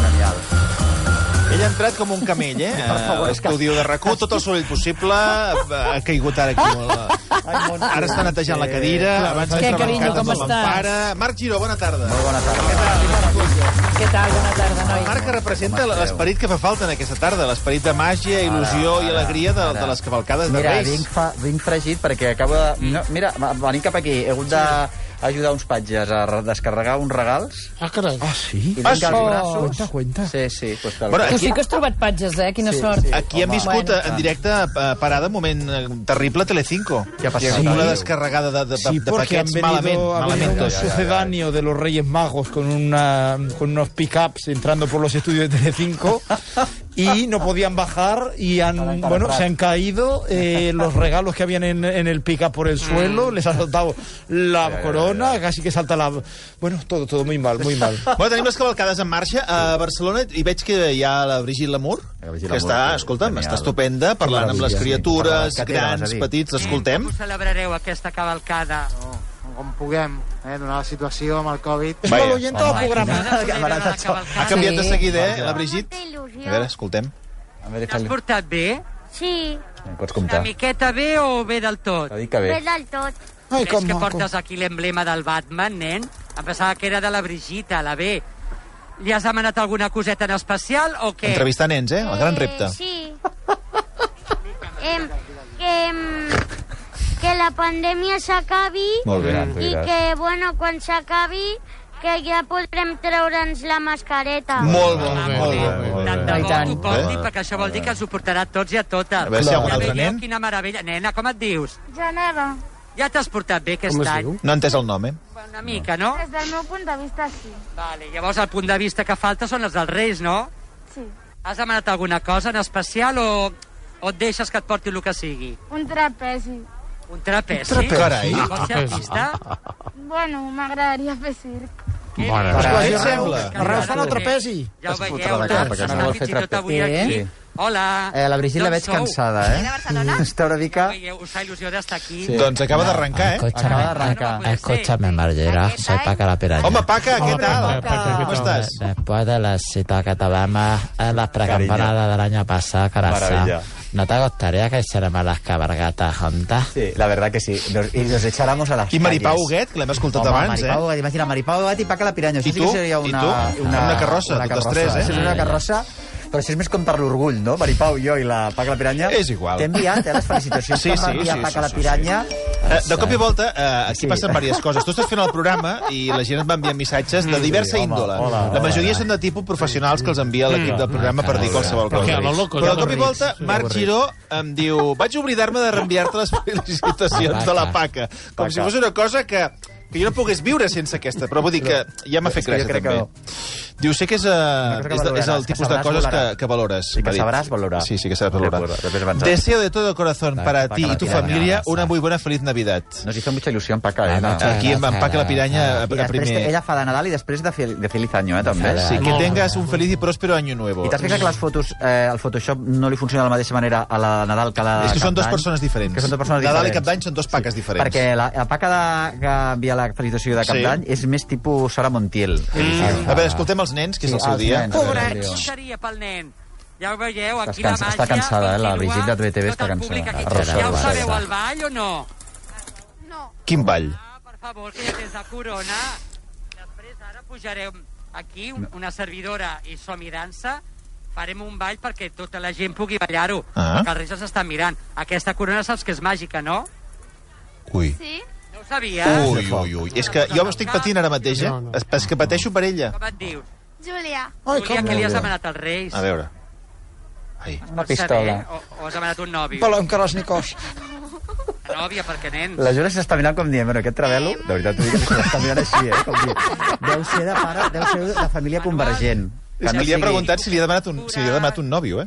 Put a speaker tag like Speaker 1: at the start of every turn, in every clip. Speaker 1: Genial.
Speaker 2: Ell ha entrat com un camell, eh? Per
Speaker 1: favor, és que-
Speaker 2: L'estudi de rac tot el soroll possible, eh, ha caigut ara aquí. molt. eh.
Speaker 1: Ai, Montse.
Speaker 2: Ara està netejant la cadira, abans
Speaker 3: Què,
Speaker 2: s'ha
Speaker 3: carinyo,
Speaker 2: arrencat
Speaker 3: com
Speaker 2: amb l'empara. Marc Giró, bona tarda.
Speaker 1: Molt bona tarda.
Speaker 3: Què tal? Bona tarda, nois.
Speaker 2: Marc que representa
Speaker 1: Home,
Speaker 2: l'esperit que fa falta en aquesta tarda, l'esperit de màgia, il·lusió i alegria de, de les cavalcades de
Speaker 1: Mira,
Speaker 2: Reis.
Speaker 1: vinc, fa, vinc fregit perquè acabo de... No, mira, va- venint cap aquí, he hagut d'ajudar uns patges a re- descarregar uns regals
Speaker 4: Ah, carai.
Speaker 5: Ah, sí?
Speaker 1: i
Speaker 2: Ah,
Speaker 1: vinc
Speaker 2: sí?
Speaker 1: als braços...
Speaker 5: Cuenta, cuenta.
Speaker 1: Sí, sí, pues tal.
Speaker 2: Bueno,
Speaker 3: Tu
Speaker 2: aquí-
Speaker 3: sí que has trobat patges, eh? Quina
Speaker 1: Sí,
Speaker 3: sort.
Speaker 1: sí.
Speaker 2: Aquí hem
Speaker 1: Home.
Speaker 2: viscut
Speaker 3: Bueno.
Speaker 2: eh, en directe eh, parada un moment eh, terrible a Telecinco.
Speaker 1: Què ha passat?
Speaker 2: Amb una
Speaker 1: Sí.
Speaker 2: descarregada de, de,
Speaker 5: Sí,
Speaker 2: de
Speaker 5: porque han
Speaker 2: paquets
Speaker 5: venido,
Speaker 2: malament.
Speaker 5: ha venido
Speaker 2: malament.
Speaker 5: un sucedáneo de los Reyes Magos con, una, con unos pick-ups entrando por los estudios de Telecinco y no podían bajar y han, bueno, se han caído eh, los regalos que habían en, en el pick-up por
Speaker 2: Mm.
Speaker 5: el suelo, les ha saltado la corona, casi que salta la... Bueno, todo, todo muy mal, muy mal.
Speaker 2: Bueno, tenim les cavalcades en marxa a Barcelona i veig que hi ha la Brigitte Lamour,
Speaker 1: La Brigitte
Speaker 2: que
Speaker 1: Lamour,
Speaker 2: està,
Speaker 1: que-
Speaker 2: escolta'm,
Speaker 1: genial.
Speaker 2: està estupenda, parlant amb les
Speaker 1: Maravilla, sí. Parlant
Speaker 2: criatures,
Speaker 1: del que té, vas a
Speaker 2: grans,
Speaker 1: dir.
Speaker 2: petits, l'escoltem.
Speaker 6: Com celebrareu aquesta cavalcada?
Speaker 7: no, com puguem, eh, donar la situació amb el Covid.
Speaker 5: Es
Speaker 2: Vaya.
Speaker 5: mal oyente del programa.
Speaker 2: eh,
Speaker 6: Quina
Speaker 1: que m'ha
Speaker 6: solidaritat
Speaker 1: anat
Speaker 6: de cavalcada.
Speaker 2: Ha canviat de
Speaker 3: Sí.
Speaker 2: seguida, eh,
Speaker 1: Sí.
Speaker 2: la Brigitte?
Speaker 8: Molta il·lusió.
Speaker 2: A veure, escoltem.
Speaker 1: A veure,
Speaker 6: T'has
Speaker 1: fes-li-
Speaker 6: portat bé?
Speaker 8: Sí,
Speaker 1: Em pots
Speaker 6: Una
Speaker 1: comptar.
Speaker 6: miqueta bé o bé del tot?
Speaker 1: No dic que bé.
Speaker 8: bé del tot.
Speaker 5: Ai,
Speaker 6: És
Speaker 5: com
Speaker 6: que
Speaker 5: maco.
Speaker 6: portes aquí l'emblema del Batman, nen? Em pensava que era de la Brigitte, la B. Li has demanat alguna coseta en especial o què?
Speaker 2: Entrevistar nens, eh? El gran
Speaker 8: Eh,
Speaker 2: repte.
Speaker 8: Sí. em, que, em, que la pandèmia s'acabi
Speaker 2: Molt bé.
Speaker 1: Gran, tu
Speaker 8: i
Speaker 1: diràs.
Speaker 8: que, bueno, quan s'acabi, que ja podrem treure'ns la mascareta.
Speaker 2: Molt bo,
Speaker 6: Ah,
Speaker 2: molt
Speaker 6: bé,
Speaker 2: bo.
Speaker 6: Tant de
Speaker 3: I
Speaker 6: bo
Speaker 3: tant.
Speaker 6: t'ho porti,
Speaker 2: Eh? Bé.
Speaker 6: perquè això vol dir que ens ho portarà a tots i a totes.
Speaker 2: A veure si hi ha algun
Speaker 6: Ja
Speaker 2: altre
Speaker 6: veieu
Speaker 2: nen.
Speaker 6: Quina meravella. Nena, com et dius?
Speaker 8: Geneva,
Speaker 6: Ja t'has portat bé aquest
Speaker 4: Com es
Speaker 6: any?
Speaker 4: diu?
Speaker 2: No he entès el nom, eh?
Speaker 6: Una mica, no?
Speaker 8: del meu punt de vista, sí.
Speaker 6: Vale, llavors el punt de vista que falta són els dels Reis, no?
Speaker 8: Sí.
Speaker 6: Has demanat alguna cosa en especial o, o et deixes que et porti el que sigui?
Speaker 8: Un trapezi.
Speaker 6: Un trapeci?
Speaker 2: Un trapeci. Carai.
Speaker 6: Vols ser
Speaker 9: Ah,
Speaker 6: artista?
Speaker 8: Bueno, m'agradaria fer circ.
Speaker 6: Eh,
Speaker 2: Què et
Speaker 5: Arreu,
Speaker 2: sembla?
Speaker 5: arreu fan el trapezi.
Speaker 6: Ja ho
Speaker 1: Has
Speaker 6: veieu,
Speaker 1: portat la
Speaker 6: doncs,
Speaker 1: capa, que
Speaker 6: està
Speaker 1: eh, no vol
Speaker 6: fins
Speaker 1: fer
Speaker 6: i tot
Speaker 1: trapeci.
Speaker 6: avui
Speaker 3: Eh?
Speaker 6: aquí.
Speaker 1: Sí.
Speaker 6: Hola.
Speaker 1: Eh, la Brigitte
Speaker 6: D'on
Speaker 1: la veig
Speaker 6: sou?
Speaker 1: cansada, eh?
Speaker 7: De Barcelona?
Speaker 1: Està una
Speaker 6: Ja
Speaker 1: mica...
Speaker 6: ho veieu, us fa il·lusió d'estar aquí.
Speaker 1: Sí.
Speaker 2: Doncs acaba d'arrencar, eh?
Speaker 1: Acaba d'arrencar.
Speaker 6: Poder
Speaker 10: Escúchame, Margera,
Speaker 7: Aquest
Speaker 10: soy
Speaker 7: any-
Speaker 10: Paca la Piranya.
Speaker 2: Home, Paca, què tal?
Speaker 10: Paca,
Speaker 2: Com estàs?
Speaker 10: Después de la cita que tuvimos en las precampanadas del año pasado,
Speaker 1: Maravilla.
Speaker 10: corazón, ¿no te gustaría que hiciéramos las cabalgatas juntas?
Speaker 1: Sí, la verdad que sí. Nos, y nos echáramos a las
Speaker 2: I Maripau
Speaker 1: calles.
Speaker 2: Huguet, que l'hem escoltat
Speaker 1: Home,
Speaker 2: abans, eh?
Speaker 1: Maripau, eh? imagina, Maripau Gat i Paca la Piranya. Això
Speaker 2: I
Speaker 1: sí
Speaker 2: tu?
Speaker 1: que seria
Speaker 2: I
Speaker 1: una...
Speaker 2: tu? Una carrossa, totes tres, eh?
Speaker 1: Això és una carrossa, però això és més com per l'orgull, no? Maripau, jo i la Paca la Piranya.
Speaker 2: És igual.
Speaker 1: T'he enviat, eh, les felicitacions
Speaker 2: Sí,
Speaker 1: que
Speaker 2: sí,
Speaker 1: va enviar
Speaker 2: sí,
Speaker 1: Paca
Speaker 2: sí,
Speaker 1: la
Speaker 2: sí,
Speaker 1: Piranya.
Speaker 2: Eh, de cop i volta, eh, aquí
Speaker 1: Sí.
Speaker 2: sí. passen diverses coses. Tu estàs fent el programa i la gent et va enviar missatges
Speaker 4: Mm.
Speaker 2: de diversa
Speaker 1: hola,
Speaker 2: índole.
Speaker 1: hola,
Speaker 2: la majoria
Speaker 1: hola.
Speaker 2: són de tipus professionals que els envia l'equip del programa per dir qualsevol
Speaker 4: Mm. Però
Speaker 2: cosa.
Speaker 4: què, a lo loco,
Speaker 2: Però de
Speaker 4: ja
Speaker 2: cop i
Speaker 4: avorrits,
Speaker 2: volta, Marc Giró em diu vaig oblidar-me de reenviar-te les felicitacions de la paca. Com si fos una cosa que que jo no pogués viure sense aquesta, però vull dir que ja m'ha fet
Speaker 1: És que jo
Speaker 2: gràcia,
Speaker 1: crec que
Speaker 2: també.
Speaker 1: no.
Speaker 2: Diu, sé que és, eh,
Speaker 1: cosa
Speaker 2: és,
Speaker 1: que
Speaker 2: de- és
Speaker 1: valoraràs,
Speaker 2: el
Speaker 1: que
Speaker 2: tipus de
Speaker 1: sabràs
Speaker 2: coses que,
Speaker 1: valorar.
Speaker 2: que valores.
Speaker 1: Sí, que
Speaker 2: m'ha dit.
Speaker 1: sabràs valorar.
Speaker 2: Sí, sí que sabràs valorar.
Speaker 1: Després- després avançaràs.
Speaker 2: Deseo de todo corazón para
Speaker 1: Paca
Speaker 2: ti
Speaker 1: la
Speaker 2: y tu
Speaker 1: Piranya,
Speaker 2: familia
Speaker 1: abraça.
Speaker 2: una muy buena feliz Navidad.
Speaker 1: Nos hizo mucha il·lusió en Paca, eh?
Speaker 10: Ah,
Speaker 2: Aquí em van pac la piranya a,
Speaker 1: I
Speaker 2: a
Speaker 1: després,
Speaker 2: primer.
Speaker 1: ella fa de Nadal i després de, fel, de Feliz Año, eh, també.
Speaker 10: Feliz
Speaker 2: Sí, que
Speaker 4: Molt
Speaker 2: tengas un feliz y próspero año nuevo.
Speaker 1: I t'has fixat que les fotos, eh, el Photoshop no li funciona de la mateixa manera a la de Nadal que a la de
Speaker 2: És que són
Speaker 1: Cap
Speaker 2: dues
Speaker 1: d'Any?
Speaker 2: persones diferents.
Speaker 1: Que són dues persones
Speaker 2: Nadal i
Speaker 1: diferents.
Speaker 2: Cap d'Any són dos paques diferents.
Speaker 1: Perquè la, la paca de, que envia la felicitació de Cap
Speaker 2: Sí.
Speaker 1: d'Any és més tipus Sara Montiel.
Speaker 2: A veure, escoltem els nens, que és el seu
Speaker 1: els
Speaker 2: dia.
Speaker 1: nens.
Speaker 6: Pobret, seria pel nen. Ja ho veieu, aquí
Speaker 1: Està cansa-
Speaker 6: la màgia...
Speaker 1: està cansada, eh, la
Speaker 6: continua,
Speaker 1: Brigitte de BTV està
Speaker 6: tot el públic
Speaker 1: cansada.
Speaker 6: aquí.
Speaker 10: Arrossega
Speaker 6: Ja ho
Speaker 10: la
Speaker 6: sabeu,
Speaker 10: testa.
Speaker 6: el ball o no?
Speaker 2: Quin ball?
Speaker 6: Ah, per favor, que ja tens la corona. Després, ara pujarem aquí, un- una servidora i som i dansa. Farem un ball perquè tota la gent pugui ballar-ho,
Speaker 2: Ah.
Speaker 6: que els reis ens estan mirant. Aquesta corona saps que és màgica, no?
Speaker 2: Ui.
Speaker 8: Sí?
Speaker 6: No ho sabies?
Speaker 2: Ui, ui, ui. És que jo estic patint ara mateix, eh?
Speaker 4: No, no.
Speaker 2: És- És que pateixo per ella.
Speaker 6: Com et dius?
Speaker 8: Júlia.
Speaker 6: Ai, Júlia, què li has demanat als reis?
Speaker 2: A veure. Ai.
Speaker 1: Una
Speaker 6: Per saber,
Speaker 1: pistola.
Speaker 6: O, o has demanat un nòvio?
Speaker 5: Però amb Kalashnikov.
Speaker 6: Una nòvia, perquè nen...
Speaker 1: La Jura s'està mirant com dient, bueno, aquest travelo, de veritat, t'ho dic, s'està mirant així, eh? Com dient, deu ser de pare, deu ser de família convergent.
Speaker 2: És que li
Speaker 1: sigui-
Speaker 2: he preguntat si li ha demanat un, si li ha demanat un nòvio, eh?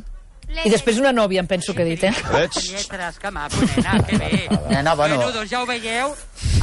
Speaker 3: I després una nòvia, em penso que he dit, eh?
Speaker 6: Lletres, que maco, nena, que bé.
Speaker 1: Nena, bueno.
Speaker 6: bueno doncs ja ho veieu.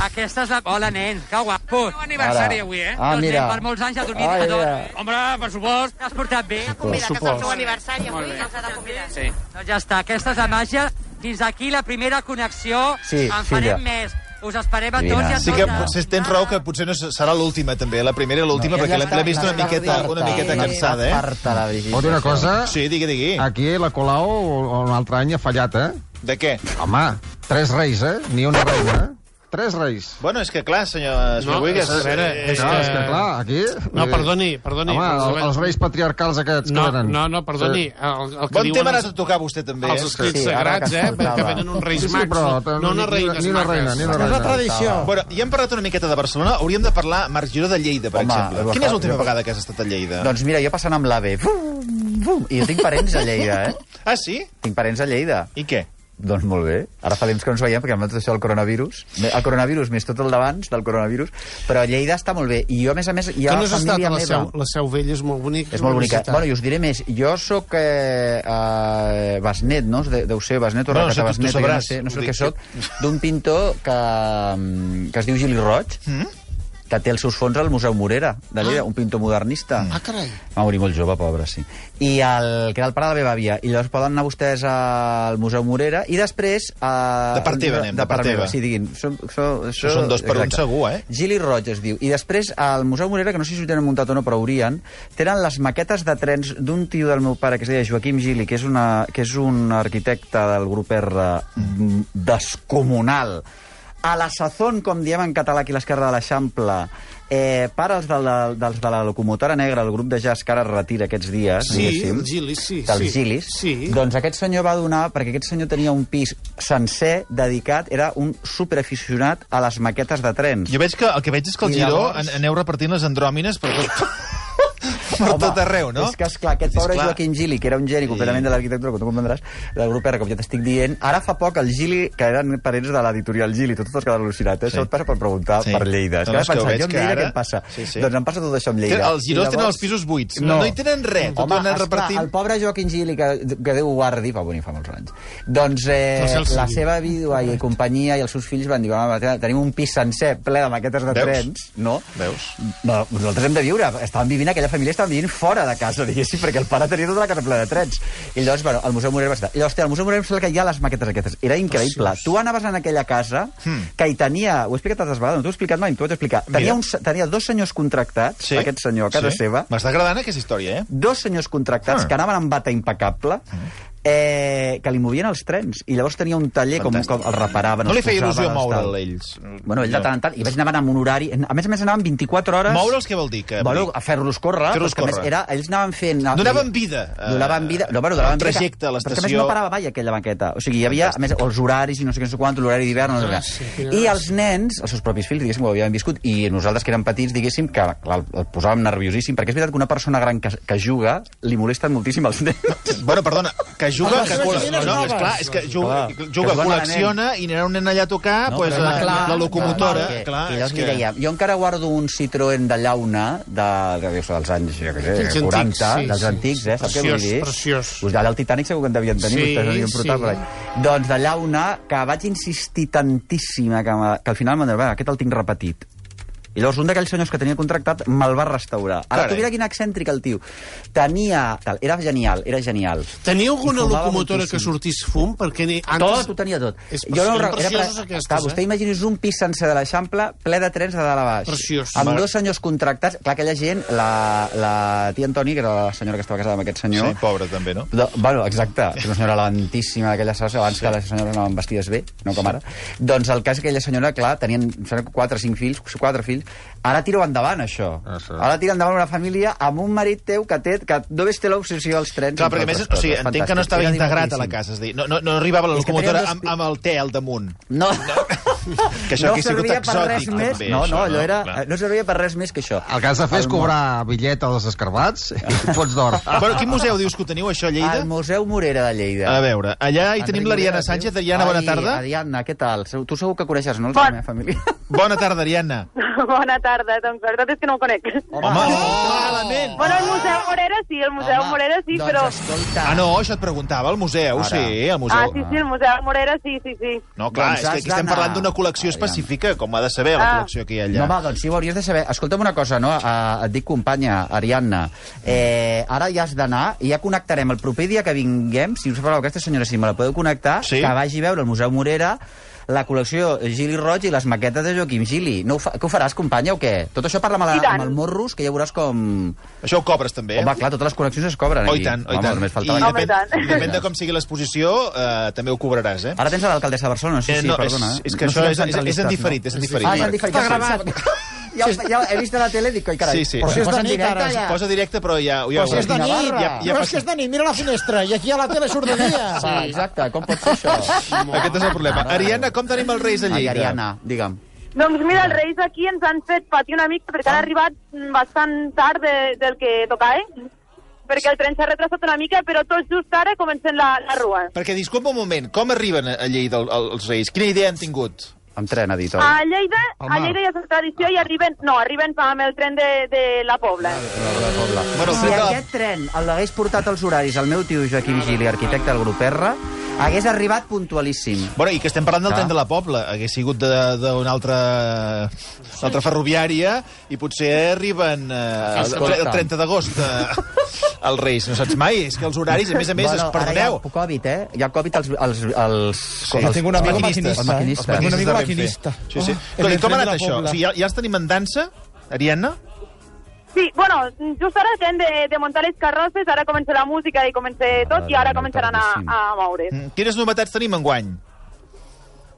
Speaker 6: Aquesta és la... Hola, nens, que guapo. El meu aniversari
Speaker 1: Ara.
Speaker 6: avui, eh?
Speaker 1: Ah,
Speaker 6: doncs
Speaker 1: mira.
Speaker 6: nen, per molts anys a dormir
Speaker 1: Ai,
Speaker 6: Ai,
Speaker 1: mira.
Speaker 6: Home, per supost. T'has portat bé?
Speaker 4: Mira, que és el seu aniversari avui, no s'ha de convidar. Sí.
Speaker 6: Doncs ja està, aquesta és la màgia. Fins aquí la primera connexió.
Speaker 1: Sí,
Speaker 6: en
Speaker 1: filla.
Speaker 6: farem més. Us esperem a tots i a
Speaker 2: Sí que
Speaker 6: totes.
Speaker 2: potser tens raó que potser no se- serà l'última, també, la primera i l'última,
Speaker 1: Ja
Speaker 2: perquè l'hem
Speaker 1: està,
Speaker 2: l'hem vist una
Speaker 1: n'està
Speaker 2: miqueta, una
Speaker 1: farta,
Speaker 2: miqueta
Speaker 1: n'està
Speaker 2: cansada, eh?
Speaker 1: Farta, la Brigitte.
Speaker 4: Pot dir una cosa?
Speaker 2: Sí, digui, digui.
Speaker 4: Aquí la Colau o- o un altre any ha fallat, eh?
Speaker 2: De què?
Speaker 4: Home, tres reis, eh? Ni una reina, eh? Tres reis.
Speaker 2: Bueno, és que clar, senyor no, Wiggins...
Speaker 11: és-
Speaker 2: eh,
Speaker 11: és-
Speaker 4: No, és que clar, aquí...
Speaker 11: No, perdoni, perdoni.
Speaker 4: Home, el, els reis patriarcals aquests
Speaker 11: No,
Speaker 4: que venen.
Speaker 11: no, no, perdoni. El, el que
Speaker 2: Bon
Speaker 11: diuen
Speaker 2: tema ha
Speaker 11: els,
Speaker 2: anat a tocar vostè, també.
Speaker 11: els
Speaker 2: eh?
Speaker 11: escrits
Speaker 1: Sí,
Speaker 11: sí,
Speaker 1: ara
Speaker 11: sagrats,
Speaker 1: que
Speaker 11: eh?
Speaker 1: escoltava.
Speaker 11: Que venen uns reis
Speaker 4: Sí, sí,
Speaker 11: macs,
Speaker 4: però,
Speaker 11: no, no unes
Speaker 4: ni- ni-
Speaker 11: reines
Speaker 4: ni una
Speaker 11: maques.
Speaker 4: reina, ni una
Speaker 5: És una
Speaker 4: reina.
Speaker 5: tradició.
Speaker 2: Bueno, ja hem parlat una miqueta de Barcelona, hauríem de parlar, Marc Giró, de Lleida, per
Speaker 1: Home,
Speaker 2: exemple.
Speaker 1: va,
Speaker 2: Quina és l'última
Speaker 1: jo-
Speaker 2: vegada que has estat a Lleida?
Speaker 1: Doncs mira, jo passant amb l'AVE, fum, fum, i jo tinc parents a Lleida, eh?
Speaker 2: Ah, sí?
Speaker 1: Tinc parents a Lleida.
Speaker 2: I què?
Speaker 1: Doncs molt bé. Ara fa temps que no ens veiem, perquè amb tot això del coronavirus... El coronavirus, més tot el d'abans del coronavirus, però Lleida està molt bé. I jo, a més a més, hi
Speaker 11: Que
Speaker 1: ha
Speaker 11: no has estat
Speaker 1: família
Speaker 11: a la
Speaker 1: meva...
Speaker 11: seu, la seu vella, és molt bonic.
Speaker 1: És molt bonica.
Speaker 11: Visitar.
Speaker 1: Bueno, i us diré més. Jo sóc eh, eh, Basnet, no? De, deu ser Basnet o
Speaker 2: Bueno, no sé,
Speaker 1: Recata
Speaker 2: tu- tu
Speaker 1: Basnet. jo
Speaker 2: sabràs.
Speaker 1: no sé, no sé
Speaker 2: Vull
Speaker 1: el que
Speaker 2: dir
Speaker 1: sóc. D'un pintor que, mm, que es diu Gili Roig,
Speaker 2: Mm?
Speaker 1: que té els seus fons al Museu Morera, de
Speaker 2: Ah.
Speaker 1: Lleida, un pintor modernista.
Speaker 2: Mm.
Speaker 11: Ah, carai.
Speaker 1: Va morir molt jove, pobre, sí. I el, que era el pare de la meva àvia. I llavors poden anar vostès al Museu Morera i després... eh, A,
Speaker 2: De part teva anem, de part teva.
Speaker 1: Sí, diguin. Som, som, això,
Speaker 2: Són dos per un segur, eh?
Speaker 1: Gili Roig es diu. I després, al Museu Morera, que no sé si ho tenen muntat o no, però haurien, tenen les maquetes de trens d'un tio del meu pare que es deia Joaquim Gili, que és, una, que és un arquitecte del grup R mm, descomunal. A la sazón, com diem en català aquí a l'esquerra de l'Eixample, eh, pares de la, dels de la locomotora negra, el grup de jazz que ara es retira aquests dies,
Speaker 11: Sí,
Speaker 1: diguéssim,
Speaker 11: el Gilis, sí,
Speaker 1: dels
Speaker 11: sí.
Speaker 1: Gilis,
Speaker 11: Sí.
Speaker 1: doncs aquest senyor va donar, perquè aquest senyor tenia un pis sencer dedicat, era un superaficionat a les maquetes de trens.
Speaker 2: Jo veig que el que veig és que el
Speaker 1: I
Speaker 2: Giró
Speaker 1: llavors-
Speaker 2: an- aneu repartint les andròmines per tot, per
Speaker 1: Home,
Speaker 2: tot arreu, no?
Speaker 1: És que, esclar, aquest pobre
Speaker 2: Esclar.
Speaker 1: Joaquim Gili, que era un geni completament de l'arquitectura, que tu comprendràs, del grup R, com ja t'estic dient, ara fa poc el Gili, que eren parents de l'editorial Gili, tot els que l'han al·lucinat, eh?
Speaker 2: Sí.
Speaker 1: això et passa per preguntar
Speaker 2: Sí.
Speaker 1: per Lleida. És
Speaker 2: No,
Speaker 1: que
Speaker 2: és que ho
Speaker 1: ara pensar,
Speaker 2: veig
Speaker 1: jo amb
Speaker 2: que
Speaker 1: Lleida
Speaker 2: ara-
Speaker 1: què em passa?
Speaker 2: Sí, sí.
Speaker 1: Doncs em passa tot això amb Lleida.
Speaker 2: Tenen- els
Speaker 1: I
Speaker 2: girós
Speaker 1: llavors-
Speaker 2: tenen els pisos buits. No, no hi tenen res, tot ho
Speaker 1: Home,
Speaker 2: han anat
Speaker 1: esclar,
Speaker 2: repartint.
Speaker 1: el pobre Joaquim Gili, que, que Déu ho guardi, va venir fa molts anys, doncs eh,
Speaker 11: No sé el
Speaker 1: la
Speaker 11: sigui.
Speaker 1: seva vídua i companyia i els seus fills van dir, home, tenim un pis sencer ple de maquetes de
Speaker 2: Veus?
Speaker 1: trens, no?
Speaker 2: Veus?
Speaker 1: No, nosaltres hem de viure. Estaven vivint, aquella família estava vivint fora de casa, diguéssim, perquè el pare tenia tota la casa plena de trens. I llavors, bueno, el Museu Morera va estar. I llavors, té, al Museu Morera em sembla que hi ha les maquetes aquestes. Era increïble. Tu anaves en aquella casa
Speaker 2: Hmm.
Speaker 1: que hi tenia... Ho he explicat tantes vegades, no t'ho he explicat mai, t'ho vaig explicar. Tenia, un, se- tenia dos senyors contractats,
Speaker 2: Sí?
Speaker 1: aquest senyor, a casa
Speaker 2: Sí.
Speaker 1: seva,
Speaker 2: M'està agradant aquesta història, eh?
Speaker 1: dos senyors contractats
Speaker 2: Ah. Hmm.
Speaker 1: que anaven amb bata impecable, eh, que li movien els trens. I llavors tenia un taller com,
Speaker 2: Fantàstic.
Speaker 1: com el reparaven.
Speaker 2: No
Speaker 1: els
Speaker 2: li feia
Speaker 1: posaven,
Speaker 2: il·lusió
Speaker 1: els tal.
Speaker 2: moure'l, ells.
Speaker 1: Bueno, ell de tant en tant, i vaig anar amb un horari... A més a més, anaven 24 hores...
Speaker 2: Moure'ls què vol dir? Que,
Speaker 1: Bueno, a fer-los córrer.
Speaker 2: Fer-los
Speaker 1: però és que a
Speaker 2: córrer.
Speaker 1: Més, era, ells anaven fent...
Speaker 2: Donaven vida, eh,
Speaker 1: Donaven vida. No, bueno, donaven
Speaker 2: al trajecte, a
Speaker 1: vida. Però és que a més
Speaker 2: l'estació.
Speaker 1: no parava mai aquella banqueta. O sigui, hi havia, a més, els horaris i no sé què, no sé quant, l'horari d'hivern, no sé què. I els nens, els seus propis fills, diguéssim, ho havien viscut, i nosaltres que érem petits, diguéssim, que clar, el posàvem nerviosíssim, perquè és veritat que una persona gran que, que juga li molesten moltíssim els nens.
Speaker 2: Bueno, perdona, que
Speaker 1: Ah,
Speaker 2: juga...
Speaker 5: les
Speaker 2: que col·lecciona,
Speaker 5: joguines
Speaker 2: no,
Speaker 5: noves.
Speaker 2: és clar, és que juga,
Speaker 1: Clar, que
Speaker 2: juga
Speaker 1: juguen a
Speaker 2: col·lecciona i anirà un nen allà a tocar
Speaker 1: No,
Speaker 2: pues,
Speaker 1: però
Speaker 2: la,
Speaker 1: clar,
Speaker 2: la
Speaker 1: clar,
Speaker 2: locomotora.
Speaker 1: perquè-
Speaker 2: Clar,
Speaker 1: I
Speaker 2: és
Speaker 1: llavors
Speaker 2: que...
Speaker 1: li deia, jo encara guardo un Citroën de llauna de, que dius, dels anys, jo què sé,
Speaker 11: Dels antics,
Speaker 1: 40,
Speaker 11: sí,
Speaker 1: dels
Speaker 11: sí,
Speaker 1: antics, eh? Saps què vull
Speaker 11: preciós,
Speaker 1: dir?
Speaker 11: preciós.
Speaker 1: Us allà al Titanic segur que en devien tenir,
Speaker 11: Sí,
Speaker 1: vostès no devien
Speaker 11: sí.
Speaker 1: portar per allà. Doncs de llauna, que vaig insistir tantíssima, que, me- que al final m'han dit, "Va, aquest el tinc repetit. I llavors un d'aquells senyors que tenia contractat me'l va restaurar. Ara,
Speaker 2: Carai.
Speaker 1: tu mira quin excèntric el tio. Tenia... Tal, era genial, era genial.
Speaker 11: Tenia alguna
Speaker 1: Fumava
Speaker 11: locomotora
Speaker 1: moltíssim.
Speaker 11: que sortís fum? Perquè ni antes...
Speaker 1: Tot, ho tenia tot.
Speaker 11: És jo no, eren precioses aquestes,
Speaker 1: clar, vostè
Speaker 11: eh?
Speaker 1: imagini's un pis sencer de l'Eixample ple de trens de dalt a baix.
Speaker 11: Preciós.
Speaker 1: Amb
Speaker 11: Mare.
Speaker 1: dos senyors contractats. Clar, aquella gent, la, la tia Antoni, que era la senyora que estava casada amb aquest senyor...
Speaker 2: Sí, pobra, també, no?
Speaker 1: De, bueno, exacte, és una senyora elegantíssima d'aquella sala, abans sí. que les senyores anaven vestides bé, no com ara. Doncs el cas és que aquella senyora, clar, tenien em sembla que 4 o 5 fills, 4 fills, ara tira endavant això.
Speaker 4: Ah, sí.
Speaker 1: Ara tira endavant una família amb un marit teu que, té, que només té l'obsessió als trens.
Speaker 2: Clar, perquè a
Speaker 1: entre
Speaker 2: més,
Speaker 1: altres
Speaker 2: o sigui,
Speaker 1: coses.
Speaker 2: entenc que no
Speaker 1: Fantàstic.
Speaker 2: estava
Speaker 1: Era
Speaker 2: integrat a la
Speaker 1: divertidíssim.
Speaker 2: casa, és a dir, no, no, no arribava la
Speaker 1: És que tenia
Speaker 2: locomotora
Speaker 1: dos
Speaker 2: amb,
Speaker 1: pi-
Speaker 2: amb el té al damunt.
Speaker 1: No.
Speaker 2: Que això
Speaker 1: no
Speaker 2: hauria sigut
Speaker 1: servia per
Speaker 2: exòtic,
Speaker 1: res
Speaker 2: també,
Speaker 1: més. no,
Speaker 2: això,
Speaker 1: no, allò
Speaker 2: no?
Speaker 1: era...
Speaker 2: Clar.
Speaker 1: No servia per res més que això.
Speaker 4: El que has de fer és
Speaker 1: El mo-
Speaker 4: cobrar bitllet als escarbats i fots d'or.
Speaker 2: Bueno, quin museu dius que ho teniu, això, a Lleida?
Speaker 1: Al Museu Morera de Lleida.
Speaker 2: A veure, allà hi tenim
Speaker 1: Enric
Speaker 2: l'Ariana
Speaker 1: Morera,
Speaker 2: Sánchez.
Speaker 1: diu.
Speaker 2: Ariana, bona
Speaker 1: Ai,
Speaker 2: tarda.
Speaker 1: Ariadna, què tal? Seu- Tu segur que coneixes, no, la meva família?
Speaker 2: Bona tarda, Ariana.
Speaker 4: Bona tarda, doncs la veritat és que no ho conec.
Speaker 2: Home, oh! malament!
Speaker 4: Bueno, el museu
Speaker 12: Museu Morera sí, el Museu Home, Morera sí, doncs, però...
Speaker 2: Escolta. Ah, no, això et preguntava, el museu, Ara. sí, el museu.
Speaker 12: Ah, sí, sí, el Museu Morera sí, sí, sí.
Speaker 2: No, clar, doncs és
Speaker 1: Doncs
Speaker 2: que
Speaker 1: has
Speaker 2: aquí estem
Speaker 1: d'anar.
Speaker 2: parlant d'una col·lecció específica, com ha de saber la
Speaker 1: Ah.
Speaker 2: col·lecció que hi ha
Speaker 1: No,
Speaker 2: allà.
Speaker 1: home, doncs sí, ho hauries de saber. Escolta'm una cosa, no? Uh, et dic companya, Ariadna. Eh, ara ja has d'anar i ja connectarem el proper dia que vinguem, si us parlau aquesta senyora, si me la podeu connectar, sí. que vagi a veure el Museu Morera la col·lecció Gili Roig i les maquetes de Joaquim Gili. No ho fa, què ho faràs, companya, o què? Tot això parla amb, la,
Speaker 2: I tant.
Speaker 1: amb el Morros, que ja veuràs com...
Speaker 2: Això ho cobres, també, eh?
Speaker 1: Home, clar, totes les connexions es cobren.
Speaker 2: Oh,
Speaker 1: aquí.
Speaker 2: i tant, oh, i
Speaker 1: Home,
Speaker 2: tant.
Speaker 1: Només
Speaker 2: I
Speaker 1: faltava...
Speaker 2: depèn, depèn de com sigui l'exposició, eh, també ho cobraràs, eh?
Speaker 1: Ara tens a l'alcaldessa de Barcelona, sí,
Speaker 2: Eh,
Speaker 1: sí,
Speaker 2: no,
Speaker 1: perdona.
Speaker 2: és-
Speaker 1: eh?
Speaker 2: és que això és- és-
Speaker 1: serem
Speaker 2: és
Speaker 1: centralistes,
Speaker 2: en diferit, és en diferit,
Speaker 1: Ah, és en
Speaker 2: Marc.
Speaker 1: diferit.
Speaker 2: Està
Speaker 1: ja sé. Ja, ho- ja he vist a la tele i dic, oi, carai.
Speaker 2: Sí, sí.
Speaker 1: però
Speaker 2: Però si és
Speaker 1: posa
Speaker 2: de
Speaker 1: en
Speaker 2: nit,
Speaker 1: directe,
Speaker 2: ara,
Speaker 1: ja.
Speaker 2: Posa directe, però ja... ja
Speaker 1: Però si és de nit,
Speaker 2: ja, ja
Speaker 1: però
Speaker 5: és que és de nit, mira la finestra, i aquí a la tele surt de dia.
Speaker 1: Sí, exacte, com pot ser això?
Speaker 2: Aquest és el problema. Ariadna, com tenim els Reis a Lleida?
Speaker 1: Ai, Ariadna, digue'm.
Speaker 12: Doncs mira, els Reis aquí ens han fet patir una mica perquè han arribat mm, bastant tard de, del que tocava, perquè el tren s'ha retrasat una mica, però tot just ara comencem la, la rua.
Speaker 2: Perquè, disculpa un moment, com arriben a Lleida el- el- els Reis? Quina idea han tingut?
Speaker 1: Amb tren, ha dit,
Speaker 12: A Lleida, a
Speaker 2: Home.
Speaker 12: Lleida ja és la tradició i arriben, no, arriben amb el tren de, de la Pobla.
Speaker 1: Bueno, si aquest tren el hagués portat als horaris el meu tio Joaquim Gili, arquitecte del grup R, hagués arribat puntualíssim. Ah.
Speaker 2: Bueno, i que estem parlant del
Speaker 1: Clar.
Speaker 2: tren de la Pobla. Hagués sigut de- d'una altra, una altra ferroviària i potser arriben eh, el, tre- el 30 d'agost eh, els Reis. No saps mai? És que els horaris, a més a més, es
Speaker 1: ara hi ha
Speaker 2: perdoneu.
Speaker 1: el Covid, eh? Hi ha Covid als... als, als
Speaker 2: Sí,
Speaker 1: als-
Speaker 2: tinc un amic
Speaker 1: als
Speaker 2: maquinista,
Speaker 1: Els
Speaker 2: eh? Els
Speaker 1: maquinistes.
Speaker 2: maquinistes de Renfe. Sí, sí. Oh, com ha
Speaker 5: el tren de
Speaker 2: anat
Speaker 5: la
Speaker 2: això?
Speaker 5: Pobla.
Speaker 2: O sigui, ja, ja els tenim en dansa, Ariadna?
Speaker 12: Sí, bueno, just ara hem de, de muntar les carrosses, ara comença la música i comença tot, i ara començaran a, a moure's.
Speaker 2: Mm, Quines novetats tenim enguany?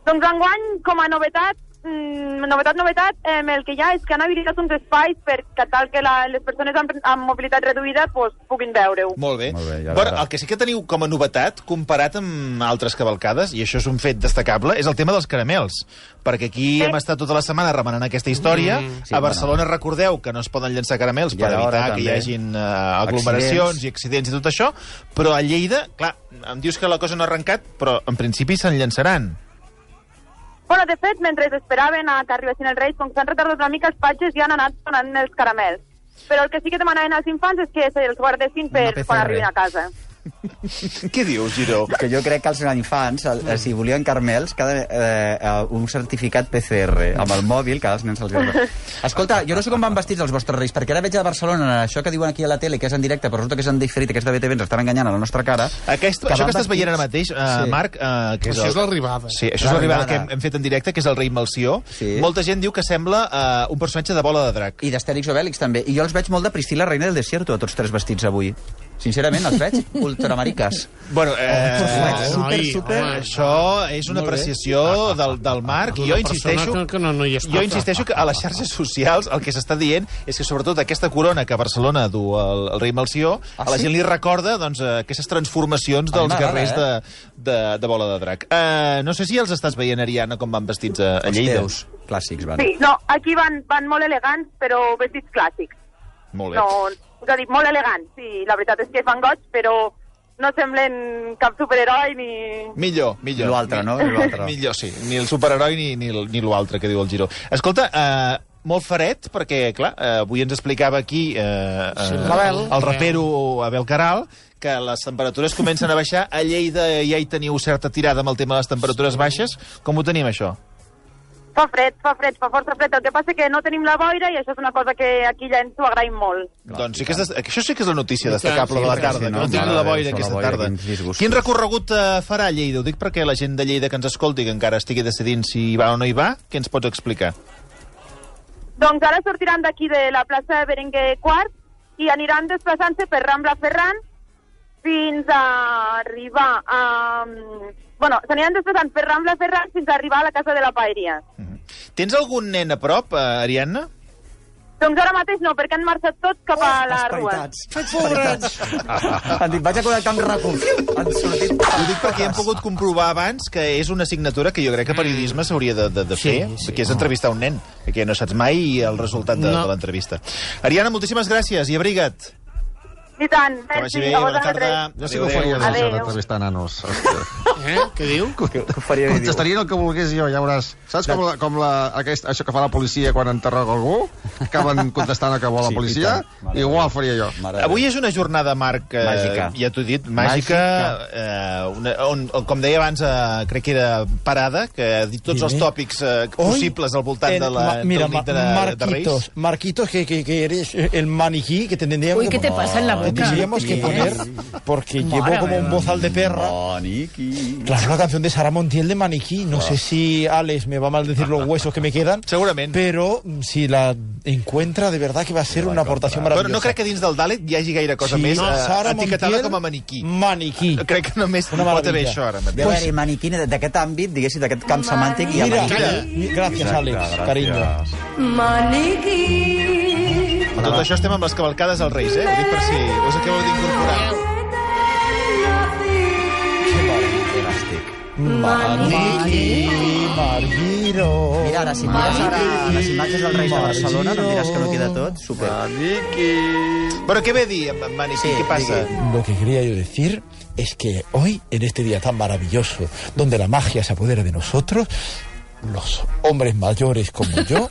Speaker 12: Doncs enguany, com a novetat, mm, novetat, novetat, eh, el que hi ha és que han habilitat uns espais per que tal que la, les persones amb, amb mobilitat reduïda pues, puguin veure-ho.
Speaker 2: Molt bé. Molt bé
Speaker 1: ja
Speaker 2: bueno,
Speaker 1: veurà.
Speaker 2: el que sí que teniu com a novetat, comparat amb altres cavalcades, i això és un fet destacable, és el tema dels caramels. Perquè aquí hem estat tota la setmana remenant aquesta història.
Speaker 1: Mm. Sí,
Speaker 2: a
Speaker 1: bueno.
Speaker 2: Barcelona recordeu que no es poden llançar caramels
Speaker 1: I
Speaker 2: per
Speaker 1: ara
Speaker 2: evitar
Speaker 1: ara
Speaker 2: que hi
Speaker 1: també.
Speaker 2: hagin eh, aglomeracions
Speaker 1: Accidents.
Speaker 2: i accidents i tot això, però a Lleida, clar, em dius que la cosa no ha arrencat, però en principi se'n llançaran.
Speaker 12: Bueno, de fet, mentre esperaven a que arribessin els Reis, com que s'han retardat una mica, els patges ja han anat donant els caramels. Però el que sí que demanaven als infants és que se'ls guardessin per
Speaker 1: PCR.
Speaker 12: quan arribin a casa.
Speaker 2: Què dius, Giró?
Speaker 1: Que jo crec que els infants, el, eh, si volien carmels, cada, eh, eh, un certificat PCR amb el mòbil, cada els nens se'ls agrada. Escolta, jo no sé com van vestits els vostres reis, perquè ara veig a Barcelona això que diuen aquí a la tele, que és en directe, però resulta que és en diferit, que és de BTV, ens estan enganyant a la nostra cara.
Speaker 2: Aquest, això
Speaker 1: van
Speaker 2: que estàs
Speaker 1: vestits-
Speaker 2: veient ara mateix, eh, sí. Marc... Eh, que
Speaker 11: Això
Speaker 2: el-
Speaker 11: és l'arribada.
Speaker 2: Sí, això és l'arribada que hem, hem fet en directe, que és el rei Malció. Sí. Molta gent diu que sembla eh, un personatge de bola de drac.
Speaker 1: I d'Astèrix o Bèlix, també. I jo els veig molt de Priscila, reina del desierto, a tots tres vestits avui. Sincerament, els veig ultramariques.
Speaker 2: Bueno, eh,
Speaker 1: super,
Speaker 11: Ai,
Speaker 1: super...
Speaker 11: home. Ah,
Speaker 2: Això és una apreciació del, del Marc i jo
Speaker 11: Una
Speaker 2: insisteixo...
Speaker 11: ah. persona Que, que no, no hi és
Speaker 2: Jo insisteixo que a les xarxes socials el que s'està dient és que sobretot aquesta corona que a Barcelona du el, el rei Malció,
Speaker 1: Ah,
Speaker 2: a la
Speaker 1: sí?
Speaker 2: gent li recorda doncs, eh, aquestes transformacions
Speaker 1: A mi
Speaker 2: dels
Speaker 1: m'agrada,
Speaker 2: guerrers de,
Speaker 1: eh?
Speaker 2: de, de bola de drac. Uh, no sé si els estàs veient, Ariadna, com van vestits eh, a, a Lleida.
Speaker 1: teus clàssics van.
Speaker 12: Sí, no, aquí van, van molt elegants, però vestits clàssics.
Speaker 2: Molt bé.
Speaker 12: No, us ha dit, molt elegants, sí, la veritat és que fan goig, però no semblen cap superheroi ni...
Speaker 2: Millor, millor.
Speaker 1: Lo altre, no? Lo altre.
Speaker 2: Millor, sí. Ni el superheroi ni, ni, el- ni l'altre que diu el Giró. Escolta, eh, molt faret, perquè, clar, eh, avui ens explicava aquí eh, eh,
Speaker 11: l'Abel.
Speaker 2: el rapero Abel Caral, que les temperatures comencen a baixar. A Lleida ja hi teniu certa tirada amb el tema de les temperatures baixes. Com ho tenim, això?
Speaker 12: Fa fred, fa fred, fa força fred. El que passa que no tenim la boira i això és una cosa que aquí ja ens ho agraïm molt.
Speaker 2: doncs sí que és, des- això sí que és la
Speaker 11: I
Speaker 2: notícia
Speaker 11: tant,
Speaker 2: destacable
Speaker 11: sí,
Speaker 2: de la
Speaker 11: perquè
Speaker 2: tarda,
Speaker 11: sí,
Speaker 2: que
Speaker 11: no?
Speaker 2: no tenim
Speaker 11: Mare
Speaker 2: la
Speaker 11: de Déu,
Speaker 2: boira
Speaker 11: això,
Speaker 2: aquesta
Speaker 11: la boira,
Speaker 2: tarda.
Speaker 11: quins disgustos.
Speaker 2: Quin recorregut eh, farà Lleida? Ho dic perquè la gent de Lleida que ens escolti, que encara estigui decidint si hi va o no hi va, què ens pots explicar?
Speaker 12: Doncs ara sortiran d'aquí de la plaça de Berenguer Quart i aniran desplaçant-se per Rambla Ferran fins a arribar a... Bueno, s'aniran desplaçant per Rambla Ferran fins a arribar a la Casa de la Paeria.
Speaker 2: Tens algun nen a prop, eh, Ariadna?
Speaker 12: Doncs ara mateix no, perquè han marxat tots cap a la rua.
Speaker 1: Pobrets! Han dit, vaig a connectar amb RAC1. Han sortit...
Speaker 2: Ho dic perquè hem pogut comprovar abans que és una assignatura que jo crec que periodisme s'hauria de, de, de fer, sí, sí, que és entrevistar un nen, que no saps mai el resultat de, no.
Speaker 11: No.
Speaker 2: de l'entrevista. Ariadna, moltíssimes gràcies i abriga't.
Speaker 12: I tant,
Speaker 2: Que vagi bé, bona tarda.
Speaker 4: Jo sí que ho faria de
Speaker 12: Adéu.
Speaker 4: ser entrevistar nanos.
Speaker 11: Eh? Què diu?
Speaker 4: Que, que Doncs- faria Contestarien el que volgués jo, ja veuràs. Saps com, la, com la, aquest, això que fa la policia quan enterrega algú? Acaben contestant el que vol la
Speaker 2: Sí,
Speaker 4: policia?
Speaker 2: i tant. Mare
Speaker 4: Igual faria jo.
Speaker 2: Avui és una jornada, Marc, eh,
Speaker 4: Màgica.
Speaker 2: ja t'ho he dit, màgica, eh, una, on, on, com deia abans, eh, crec que era parada, que ha dit tots els tòpics eh, possibles al voltant
Speaker 5: En-
Speaker 2: de la
Speaker 5: ma- mira,
Speaker 2: del nit de,
Speaker 5: Ma-
Speaker 2: de
Speaker 5: Marquitos,
Speaker 2: Reis.
Speaker 5: Marquitos, que, que, que eres el maniquí que tendríamos...
Speaker 3: Uy, ¿qué te pasa en la boca?
Speaker 5: Tendríamos que poner, porque llevo como un bozal de perra.
Speaker 1: Maniquí.
Speaker 5: Claro, la canción de Sara Montiel de Maniquí. No sé si Alex me va a maldecir los huesos que me quedan.
Speaker 2: Seguramente.
Speaker 5: Pero mm, si la encuentra, de verdad que va a ser una aportación maravillosa.
Speaker 2: Però no crec que dins del Dalet hi hagi gaire cosa
Speaker 5: Sí,
Speaker 2: més
Speaker 5: no,
Speaker 2: eh,
Speaker 5: Sara
Speaker 2: etiquetada
Speaker 5: Montiel,
Speaker 2: com a maniquí. Eh,
Speaker 5: Maniquí.
Speaker 2: Crec que només
Speaker 5: Una
Speaker 2: pot haver
Speaker 5: meravella.
Speaker 2: això ara
Speaker 1: Deu
Speaker 2: mateix.
Speaker 1: haver-hi maniquí d'aquest àmbit, diguéssim, d'aquest camp semàntic. hi ha
Speaker 5: Mira,
Speaker 1: maniquí.
Speaker 5: mira, gràcies,
Speaker 1: Exacte,
Speaker 5: Àlex,
Speaker 1: gràcies.
Speaker 5: carinyo.
Speaker 13: Maniquí.
Speaker 2: Amb tot això estem amb les cavalcades als Reis, eh? Ho dic per si us acabeu d'incorporar.
Speaker 5: Maniquí, Marguiro.
Speaker 1: Mira, ara, si mires ara les imatges dels Reis de Barcelona, no em diràs que no queda tot? Super.
Speaker 2: Maniquí. Però què ve a dir, en en Maniquí? Sí, què passa?
Speaker 5: Lo que quería yo decir es que hoy, en este día tan maravilloso, donde la magia se apodera de nosotros, los hombres mayores como yo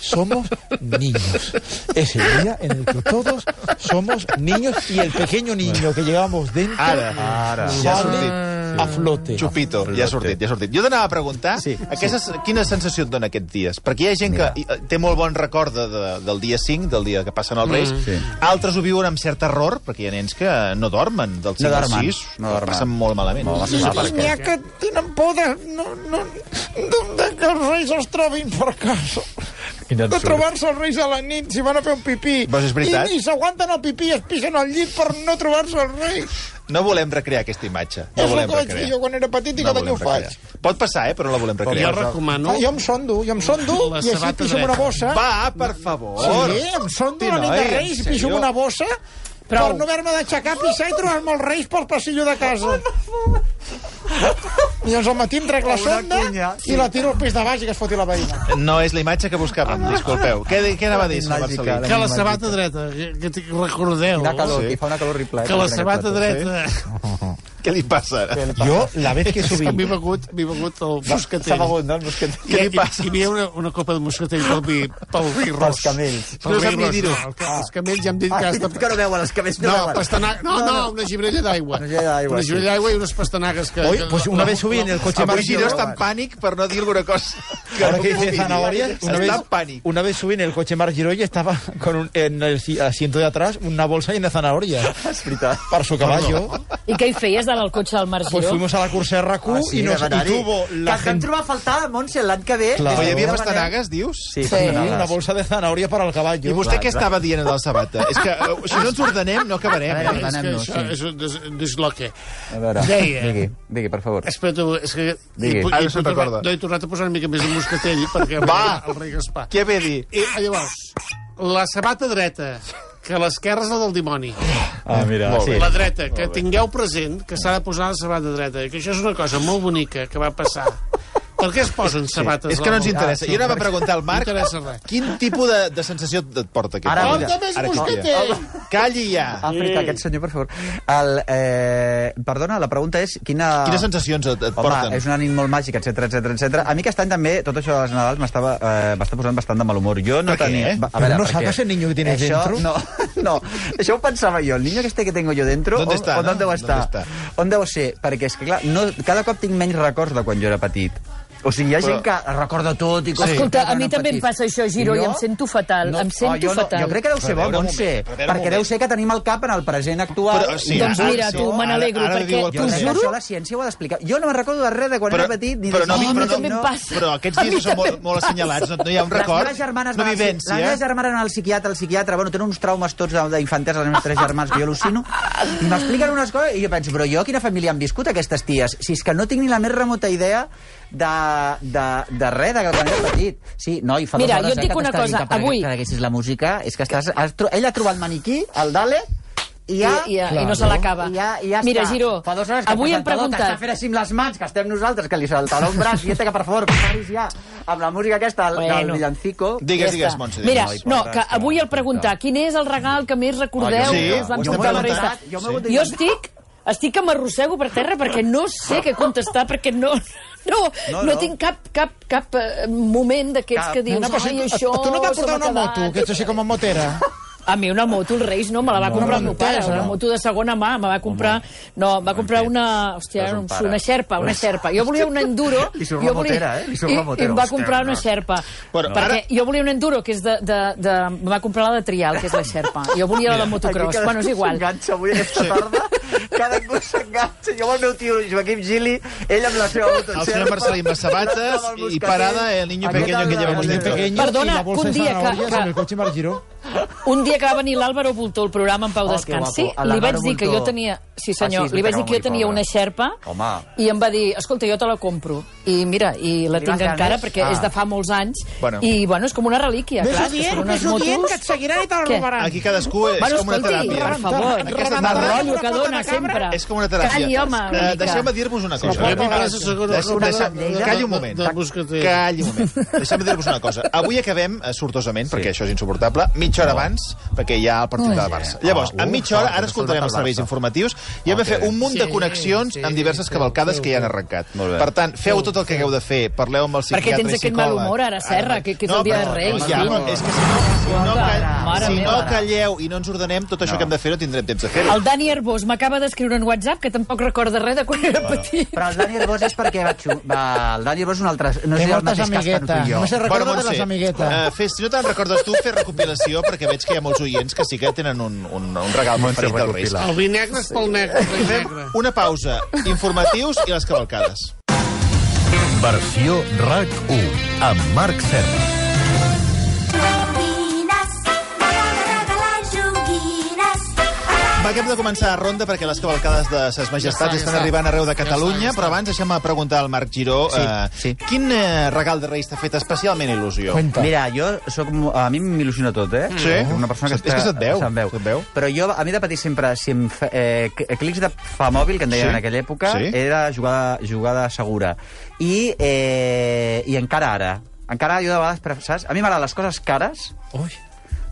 Speaker 5: somos niños. Es el día en el que todos somos niños y el pequeño niño que llevamos dentro
Speaker 2: Ara, ara.
Speaker 5: sale
Speaker 2: Ja ha sortit.
Speaker 5: a flote.
Speaker 2: Chupito, ja ha sortit, ja ha sortit. Jo t'anava a preguntar sí, aquestes, sí. quina sensació et dona aquests dies? Perquè hi ha gent Mira. que eh, té molt bon record de, de, del dia 5, del dia que passen els Reis.
Speaker 1: Mm. Sí.
Speaker 2: Mm. Altres ho viuen amb cert error, perquè hi ha nens que no dormen del 5
Speaker 1: No
Speaker 2: al
Speaker 1: dormen,
Speaker 2: 6.
Speaker 1: no dormen.
Speaker 2: Passen molt
Speaker 5: Ah,
Speaker 2: malament.
Speaker 1: No, va ser mal, perquè-
Speaker 5: N'hi ha que tenen por de, no, no, de que els reis els trobin per casa.
Speaker 2: Quin
Speaker 5: De
Speaker 2: absurd.
Speaker 5: trobar-se els reis a la nit, si van a fer un pipí.
Speaker 2: Però és veritat.
Speaker 5: I, i s'aguanten el pipí i es pixen al llit per no trobar-se els reis.
Speaker 2: No volem recrear aquesta imatge. No
Speaker 5: és el
Speaker 2: volem
Speaker 5: que vaig dir jo
Speaker 2: recrear.
Speaker 5: quan era petit i
Speaker 2: No
Speaker 5: cada dia
Speaker 2: volem
Speaker 5: ho faig.
Speaker 2: recrear. Pot passar, eh, però no la volem recrear.
Speaker 5: Ah, jo em sondo, jo em sondo
Speaker 2: La
Speaker 5: i així
Speaker 2: sabata
Speaker 5: pixo amb una
Speaker 2: dreta.
Speaker 5: bossa.
Speaker 2: Va, per favor.
Speaker 5: Sí, em sondo la nit de
Speaker 2: Hosti, noi,
Speaker 5: reis
Speaker 2: en
Speaker 5: i pixo amb
Speaker 2: serio?
Speaker 5: una bossa
Speaker 2: Prou.
Speaker 5: per no haver-me d'aixecar, pixar i trobar-me els reis pel passillo de casa. I doncs al matí em trec la sonda i la tiro al pis de baix i que es foti la veïna.
Speaker 2: No és la imatge que buscàvem, disculpeu. Què, què anava a dir, senyor
Speaker 1: Màgica,
Speaker 2: Marcelí?
Speaker 11: Que la sabata dreta, que, que t- recordeu...
Speaker 1: Quina calor,
Speaker 11: Sí.
Speaker 1: que fa una calor horrible. eh,
Speaker 11: Que la
Speaker 1: quan
Speaker 11: sabata
Speaker 1: aquest plató.
Speaker 11: dreta...
Speaker 2: Què li passa? ara?
Speaker 5: Jo, la vez que subí...
Speaker 11: M'he begut, m'he begut el moscatell.
Speaker 1: S'ha begut, no, el mosquetell.
Speaker 11: Què li passa? Hi havia una, una copa de moscatell pel vi, pel vi ros.
Speaker 1: Pels camells.
Speaker 11: Pel
Speaker 2: No
Speaker 11: vi
Speaker 2: sap ni
Speaker 11: ros,
Speaker 2: dir-ho.
Speaker 11: no, el que- Els camells ja hem dit que... has de-
Speaker 1: Que no veuen, els cabells no,
Speaker 11: No,
Speaker 1: veuen.
Speaker 11: pastanaga... No, no, una gibrella d'aigua.
Speaker 1: Una gibrella d'aigua,
Speaker 11: Una
Speaker 1: sí.
Speaker 11: gibrella d'aigua i unes pastanagues que...
Speaker 5: Hoy,
Speaker 11: que-
Speaker 5: pues una vez subí en el coche
Speaker 2: Avui Giró
Speaker 5: amarillo.
Speaker 2: està en pànic per no dir alguna cosa.
Speaker 5: Ahora
Speaker 2: no
Speaker 5: que dice
Speaker 2: pugui dir.
Speaker 5: zanahoria, una vez,
Speaker 2: Està en pànic.
Speaker 5: una vez subí en el coche Mar Giró y estaba con un- en el si- asiento de atrás una bolsa llena de zanahorias.
Speaker 1: És veritat.
Speaker 5: Para su caballo.
Speaker 3: I què hi feies dalt al cotxe del Marc
Speaker 5: Pues
Speaker 3: Giró?
Speaker 5: fuimos a la cursa RQ
Speaker 1: Ah, sí,
Speaker 5: y nos
Speaker 1: de
Speaker 5: y
Speaker 1: anar-hi.
Speaker 5: tuvo
Speaker 1: que
Speaker 5: la
Speaker 1: ens vam
Speaker 5: gente
Speaker 1: trobar a faltar, Ah, Montse, l'any que ve.
Speaker 2: Però
Speaker 1: des
Speaker 5: Claro.
Speaker 1: de
Speaker 2: hi havia
Speaker 1: Tarragona.
Speaker 2: pastanagues, dius?
Speaker 1: Sí,
Speaker 3: Sí.
Speaker 5: una
Speaker 1: pastanagues.
Speaker 5: bolsa de zanahoria para el caballo.
Speaker 2: I vostè
Speaker 1: Clar,
Speaker 2: què
Speaker 1: clar.
Speaker 2: estava dient de la sabata? És que eh, si no ens ordenem, no acabarem.
Speaker 1: A veure,
Speaker 2: eh?
Speaker 11: És que
Speaker 1: Anem-nos,
Speaker 11: això
Speaker 1: sí.
Speaker 11: és un des- un desloque.
Speaker 1: A veure,
Speaker 11: Deia.
Speaker 1: digui, digui, per favor.
Speaker 11: Espera, tu, és que...
Speaker 1: Digui.
Speaker 11: hi pu-
Speaker 2: Ara
Speaker 11: hi
Speaker 2: se'n
Speaker 11: pu-
Speaker 2: recorda.
Speaker 11: No he tornat a posar una mica més de moscatell, perquè
Speaker 2: Va.
Speaker 11: el rei Gaspar.
Speaker 2: Què ve a dir?
Speaker 11: I eh, llavors, la sabata dreta, que l'esquerra és la del dimoni.
Speaker 1: Ah, mira,
Speaker 2: Molt
Speaker 1: sí.
Speaker 2: bé.
Speaker 11: La dreta, que tingueu present que s'ha de posar la sabata dreta, que això és una cosa molt bonica que va passar. Per què es posen sabates?
Speaker 2: És que no ens
Speaker 11: a la boca?
Speaker 2: interessa. Jo anava a preguntar al Marc
Speaker 11: No interessa res.
Speaker 2: quin tipus de, de sensació et porta aquest.
Speaker 1: Ara,
Speaker 2: dia?
Speaker 1: mira. Porta
Speaker 11: més
Speaker 2: Ara,
Speaker 11: mosquetell.
Speaker 2: mira. Calli ja.
Speaker 1: Àfrica, aquest senyor, per favor. El, eh, perdona, la pregunta és quina...
Speaker 2: Quines sensacions et, et
Speaker 1: Home,
Speaker 2: porten?
Speaker 1: és una nit molt màgica, etc etc etc. A mi aquest any també, tot això dels Nadals m'estava eh, m'està posant bastant de mal humor. Jo no
Speaker 2: Per què?
Speaker 1: tenia...
Speaker 5: Però no
Speaker 1: per
Speaker 5: sacas
Speaker 1: què?
Speaker 5: el niño que tienes
Speaker 1: això,
Speaker 5: dentro?
Speaker 1: No, no, això ho pensava jo. El niño este que tengo yo dentro,
Speaker 2: ¿Dónde
Speaker 1: on,
Speaker 2: está,
Speaker 1: on,
Speaker 2: no?
Speaker 1: on deu
Speaker 2: ¿Dónde
Speaker 1: estar?
Speaker 2: está?
Speaker 1: On deu ser? Perquè és que, clar, no, cada cop tinc menys records de quan jo era petit. O sigui, hi ha gent que recorda tot i coses... que
Speaker 3: Escolta, a
Speaker 1: eren
Speaker 3: mi també em
Speaker 1: petits.
Speaker 3: passa això, Giro, i
Speaker 1: jo- Ah,
Speaker 3: em sento fatal, em sento
Speaker 1: Oh, jo
Speaker 3: fatal.
Speaker 1: Jo crec que deu ser
Speaker 2: Però
Speaker 1: bo,
Speaker 2: a veure un
Speaker 1: Montse,
Speaker 2: moment, però a veure un
Speaker 1: perquè deu
Speaker 2: moment.
Speaker 1: ser que tenim el cap en el present actual.
Speaker 2: Però, sí,
Speaker 3: Doncs
Speaker 2: ara-
Speaker 3: mira,
Speaker 2: sí,
Speaker 3: tu, me
Speaker 2: ara-
Speaker 3: n'alegro,
Speaker 2: ara
Speaker 3: perquè
Speaker 2: diu el
Speaker 3: t'ho
Speaker 1: Jo
Speaker 2: Josep.
Speaker 1: crec que
Speaker 3: juro
Speaker 1: això la ciència ho ha d'explicar. Jo no me'n recordo de res de quan era petit. Ni
Speaker 2: però,
Speaker 1: de...
Speaker 2: no,
Speaker 3: Home,
Speaker 2: però,
Speaker 3: també em
Speaker 2: no,
Speaker 3: passa.
Speaker 2: però
Speaker 3: A
Speaker 2: aquests
Speaker 3: mi
Speaker 2: dies són
Speaker 3: també
Speaker 2: molt,
Speaker 3: em
Speaker 2: molt assenyalats, no, no hi ha un record,
Speaker 1: les meves germanes
Speaker 2: no
Speaker 1: van-
Speaker 2: vivència. eh?
Speaker 1: Les meves germanes van al psiquiatre, al psiquiatre, bueno, tenen uns traumes tots d'infantesa, les meves tres germans, que jo al·lucino, i m'expliquen unes coses, i jo penso, però jo quina família han viscut aquestes ties? Si és que no tinc ni la més remota idea de, de, de res, de quan era petit. Sí, noi, fa
Speaker 3: Mira, jo
Speaker 1: dues hores
Speaker 3: et
Speaker 1: eh,
Speaker 3: dic
Speaker 1: que
Speaker 3: una
Speaker 1: t'està
Speaker 3: cosa,
Speaker 1: dient que perquè-
Speaker 3: avui-
Speaker 1: Que haguessis la música, és que estàs... Has, tro- ell ha trobat el maniquí, el Dale,
Speaker 13: I, ja,
Speaker 3: I, i, i no se l'acaba.
Speaker 13: I ja, i ja
Speaker 3: Mira,
Speaker 13: està.
Speaker 3: Giró,
Speaker 13: Fa dues hores que
Speaker 3: avui
Speaker 13: el
Speaker 3: hem
Speaker 13: presentador que
Speaker 3: preguntat...
Speaker 13: està fent així amb les mans, que estem nosaltres, que li saltarà un braç i ja té que, per favor, que paris ja amb la música aquesta, el,
Speaker 3: Bueno.
Speaker 13: del villancico.
Speaker 3: Ja està. Mira, no, que avui el preguntar quin és el regal que més
Speaker 13: Ah,
Speaker 3: recordeu
Speaker 13: jo sí,
Speaker 3: que us van
Speaker 13: jo m'ho he
Speaker 3: portar a la
Speaker 13: preguntat,
Speaker 3: revista.
Speaker 13: jo m'ho he hagut
Speaker 3: Jo
Speaker 13: d'inventar.
Speaker 3: estic estic que m'arrossego per terra perquè no sé què contestar, perquè no, no, no,
Speaker 5: No, no.
Speaker 3: tinc cap, cap, cap eh, moment d'aquests que dius,
Speaker 5: Una cosa,
Speaker 3: ai, això...
Speaker 5: Tu no et vas
Speaker 3: se
Speaker 5: portar
Speaker 3: m'ha
Speaker 5: una
Speaker 3: acabat".
Speaker 5: moto, que ets així com a motera?
Speaker 3: A mi una moto, el Reis, no, me la va comprar el meu pare,
Speaker 5: entès,
Speaker 3: una
Speaker 5: no?
Speaker 3: moto de segona mà, me va comprar... No, va comprar una... Hòstia,
Speaker 13: un
Speaker 3: un
Speaker 13: pare.
Speaker 3: una xerpa, una xerpa. Jo volia un enduro...
Speaker 13: Li surt
Speaker 3: jo
Speaker 13: la motera, eh? Li surt
Speaker 3: i,
Speaker 13: la motera,
Speaker 3: I em va
Speaker 13: hòstia,
Speaker 3: comprar una
Speaker 13: no.
Speaker 3: xerpa.
Speaker 13: Bueno,
Speaker 3: perquè
Speaker 13: ara-
Speaker 3: jo volia un enduro, que és de... de, de em va comprar la de trial, que és la xerpa. Jo volia la de motocross. Bueno, és igual.
Speaker 13: S'enganxa avui aquesta tarda. Cadascú s'enganxa. Jo amb el meu tio Joaquim Gili, ell amb la seva moto.
Speaker 2: El senyor Marcelí amb les sabates i parada, el niño pequeño que llevamos dentro.
Speaker 3: Perdona,
Speaker 5: y la bolsa
Speaker 3: un
Speaker 5: de
Speaker 3: dia que-
Speaker 5: zanahorias
Speaker 3: que-
Speaker 5: en el coche Margiró.
Speaker 3: Un dia que va venir l'Àlvaro Bultó al programa en Pau
Speaker 5: Oh, que
Speaker 3: Descansi,
Speaker 5: guapo. A
Speaker 3: li vaig
Speaker 5: l'Àlvaro
Speaker 3: dir que jo
Speaker 5: Bultó.
Speaker 3: tenia... Sí,
Speaker 5: Ah,
Speaker 3: senyor,
Speaker 5: sí, és
Speaker 3: li vaig
Speaker 5: que
Speaker 3: dir que jo
Speaker 5: era
Speaker 3: tenia
Speaker 5: molt
Speaker 3: una xerpa
Speaker 1: Home.
Speaker 3: i em va dir, escolta, jo te la compro. I mira, i la
Speaker 13: Li
Speaker 3: tinc
Speaker 13: vas
Speaker 3: encara
Speaker 13: ganes?
Speaker 3: perquè
Speaker 13: Ah.
Speaker 3: és de fa molts anys
Speaker 13: Bueno.
Speaker 3: i, bueno, és com una relíquia,
Speaker 13: Ves-ho
Speaker 3: clar.
Speaker 13: dient,
Speaker 3: és com unes
Speaker 13: ves-ho dient,
Speaker 3: motos.
Speaker 13: que et seguiran i te la
Speaker 3: Què?
Speaker 13: robaran.
Speaker 2: Aquí cadascú és
Speaker 3: bueno,
Speaker 2: com una
Speaker 3: escolti,
Speaker 2: teràpia.
Speaker 3: Per favor,
Speaker 2: Aquesta
Speaker 3: el mal rotllo que dona sempre.
Speaker 2: És com una teràpia.
Speaker 3: Calli, home,
Speaker 2: Eh,
Speaker 3: una mica.
Speaker 2: Deixeu-me dir-vos una cosa.
Speaker 11: Sí, jo tinc ganes de segon-
Speaker 2: Deixeu- deixeu-
Speaker 11: Lleida?
Speaker 2: Calla un moment.
Speaker 11: De- de Busqueter.
Speaker 2: Calla un moment. Deixeu-me dir-vos una cosa. Avui acabem eh, sortosament, perquè això és insuportable, mitja hora abans, perquè hi ha el partit
Speaker 4: Ui.
Speaker 2: del Barça. Llavors,
Speaker 4: Ah,
Speaker 2: en
Speaker 4: uf,
Speaker 2: mitja hora,
Speaker 4: ah,
Speaker 2: ara
Speaker 4: que
Speaker 2: escoltarem
Speaker 4: surt
Speaker 2: els
Speaker 4: del
Speaker 2: serveis
Speaker 4: Barça.
Speaker 2: informatius i hem de fer un munt de connexions amb diverses cavalcades que hi han arrencat. Per tant, feu tot el que hagueu de fer. Parleu amb el
Speaker 3: Per què
Speaker 2: psiquiatre i
Speaker 3: tens aquest mal
Speaker 2: psicòleg.
Speaker 3: humor ara, Serra, que, que és
Speaker 2: No,
Speaker 3: el dia de
Speaker 2: però-
Speaker 3: Reis?
Speaker 2: ja,
Speaker 3: tio?
Speaker 2: però és que si no, si no, ca-
Speaker 3: mare
Speaker 2: si
Speaker 3: meva,
Speaker 2: no
Speaker 3: ara.
Speaker 2: calleu i no ens ordenem, tot això que hem de fer no tindrem temps de fer-ho.
Speaker 3: El Dani Herbós m'acaba d'escriure en WhatsApp que tampoc recorda res de quan era petit.
Speaker 1: Però el Dani Herbós és perquè va, xu... va el Dani Herbós és un altre... No
Speaker 2: Té
Speaker 1: és el
Speaker 2: moltes
Speaker 1: mateix cas que no tu i jo.
Speaker 2: amiguetes. Bueno, Montse, eh, fes, si no te'n recordes tu, fes recopilació, perquè veig que hi ha molts oients que sí que tenen un, un, un regal
Speaker 4: Montse,
Speaker 2: preferit del Reis.
Speaker 11: El vi negre és pel negre. el vi negre.
Speaker 2: Una pausa. Informatius i les cavalcades.
Speaker 14: Versió RAC1 amb Marc Serra.
Speaker 2: Va, que hem de començar a ronda perquè les cavalcades de ses majestats
Speaker 4: Ja està, ja
Speaker 2: estan
Speaker 4: està.
Speaker 2: arribant arreu de
Speaker 4: Ja
Speaker 2: Catalunya,
Speaker 4: està, ja està.
Speaker 2: però abans deixem-me preguntar al Marc Giró
Speaker 1: Sí,
Speaker 2: eh, quin eh, regal de Reis t'ha fet especialment il·lusió?
Speaker 1: Mira, jo soc... mo- A mi m'il·lusiona tot, eh?
Speaker 2: Sí?
Speaker 1: Una persona que
Speaker 2: És que se't veu,
Speaker 1: Se't veu. Se't veu. Però jo, a mi de petit sempre, si em fe, eh, cl- clics de fa mòbil, que en deien
Speaker 4: Sí.
Speaker 1: en aquella època,
Speaker 4: Sí.
Speaker 1: era jugada, jugada segura. I, eh, I encara ara. Encara jo de vegades, pre- saps? A mi m'agraden les coses cares. Ui.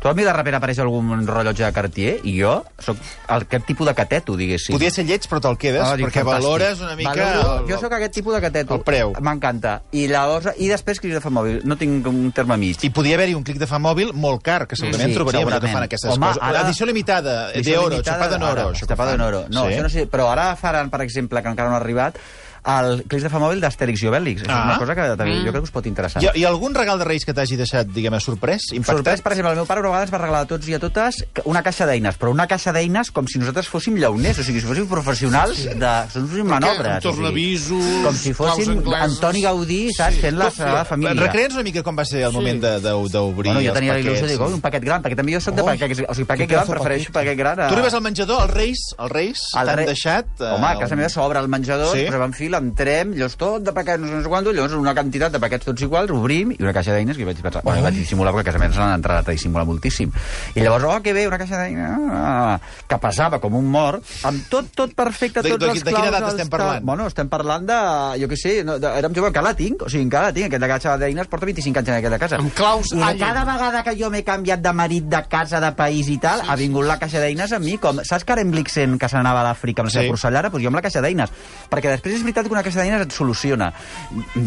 Speaker 1: Tu a mi de sobte apareix algun rellotge de Cartier i jo sóc el, aquest tipus de cateto, diguéssim.
Speaker 2: Podria ser lleig, però te'l quedes,
Speaker 1: Ah, dic,
Speaker 2: perquè
Speaker 1: fantàstic.
Speaker 2: valores una mica
Speaker 1: Valoro,
Speaker 2: el-
Speaker 1: jo sóc aquest tipus de cateto.
Speaker 2: el preu.
Speaker 1: M'encanta. I, llavors, I després clics de fa mòbil. No tinc un terme mig.
Speaker 2: I podria haver-hi un clic de fa mòbil molt car, que segurament
Speaker 1: Sí,
Speaker 2: trobaríem el que
Speaker 1: segurament.
Speaker 2: fan aquestes
Speaker 1: Home,
Speaker 2: coses.
Speaker 1: ara-
Speaker 2: Edició limitada,
Speaker 1: Edició
Speaker 2: d'oro,
Speaker 1: limitada,
Speaker 2: xupada en eh, oro.
Speaker 1: ara,
Speaker 2: això que
Speaker 1: Xupada
Speaker 2: fan.
Speaker 1: en oro. No,
Speaker 2: Sí.
Speaker 1: això no sé, però ara faran, per exemple, que encara no ha arribat, el clics de fa mòbil d'Astèrix i Obèlix. Això
Speaker 2: Ah.
Speaker 1: és una cosa que també
Speaker 2: Mm.
Speaker 1: jo crec que us pot interessar.
Speaker 2: Hi, ha- hi ha algun regal de Reis que t'hagi deixat, diguem sorprès, impactat?
Speaker 1: Sorprès, per exemple, el meu pare una vegada ens va regalar a tots i a totes una caixa d'eines, però una caixa d'eines com si nosaltres fóssim llauners, o sigui, si fóssim professionals de... Són uns manobres.
Speaker 11: Amb tornavisos,
Speaker 1: o sigui, Com si
Speaker 11: claus
Speaker 1: fóssim
Speaker 11: anglesos.
Speaker 1: Antoni Gaudí, saps, fent la Sagrada Família.
Speaker 2: Recrea'ns una mica com va ser el moment de- de- d'obrir
Speaker 1: Bueno, jo
Speaker 2: els
Speaker 1: tenia la il·lusió de
Speaker 2: paquets.
Speaker 1: dir, "Oi, un paquet gran, perquè també jo soc de paquets, o sigui, paquet
Speaker 2: que
Speaker 1: gran,
Speaker 2: pedazo
Speaker 1: prefereixo paquet gran a...
Speaker 2: Tu arribes al menjador, els Reis, els Reis
Speaker 1: El
Speaker 2: t'han
Speaker 1: re-
Speaker 2: deixat... eh,
Speaker 1: Home, a casa
Speaker 2: un-
Speaker 1: meva s'obre el menjador,
Speaker 2: Sí?
Speaker 1: sí? posem en fil, entrem, llavors tot de paquets, no sé, no sé quant, llavors una quantitat de paquets tots iguals, obrim, i una caixa d'eines que vaig pensar... Bueno, vaig dissimular, perquè a casa meva s'han entrat a dissimular moltíssim. I llavors, oh, que bé, una caixa d'eines... Ah, que pesava com un mort, amb tot, tot perfecte,
Speaker 2: De-
Speaker 1: tots
Speaker 2: de-
Speaker 1: els
Speaker 2: de quina
Speaker 1: claus...
Speaker 2: edat
Speaker 1: els
Speaker 2: estem
Speaker 1: tal.
Speaker 2: parlant?
Speaker 1: Bueno, estem parlant de... Jo què sé, no, de, érem jove, encara la tinc, o sigui, encara la tinc, aquesta caixa d'eines porta 25 anys en aquesta casa. Amb
Speaker 11: claus
Speaker 1: I
Speaker 11: Allen.
Speaker 1: cada vegada que jo m'he canviat de marit, de casa, de país i tal, ha vingut la caixa d'eines amb mi, com... Saps que ara en Blixen, que se n'anava a l'Àfrica amb la seva
Speaker 4: Sí.
Speaker 1: porcellana, doncs jo amb la caixa d'eines. Perquè després és veritat que una caixa d'eines et soluciona.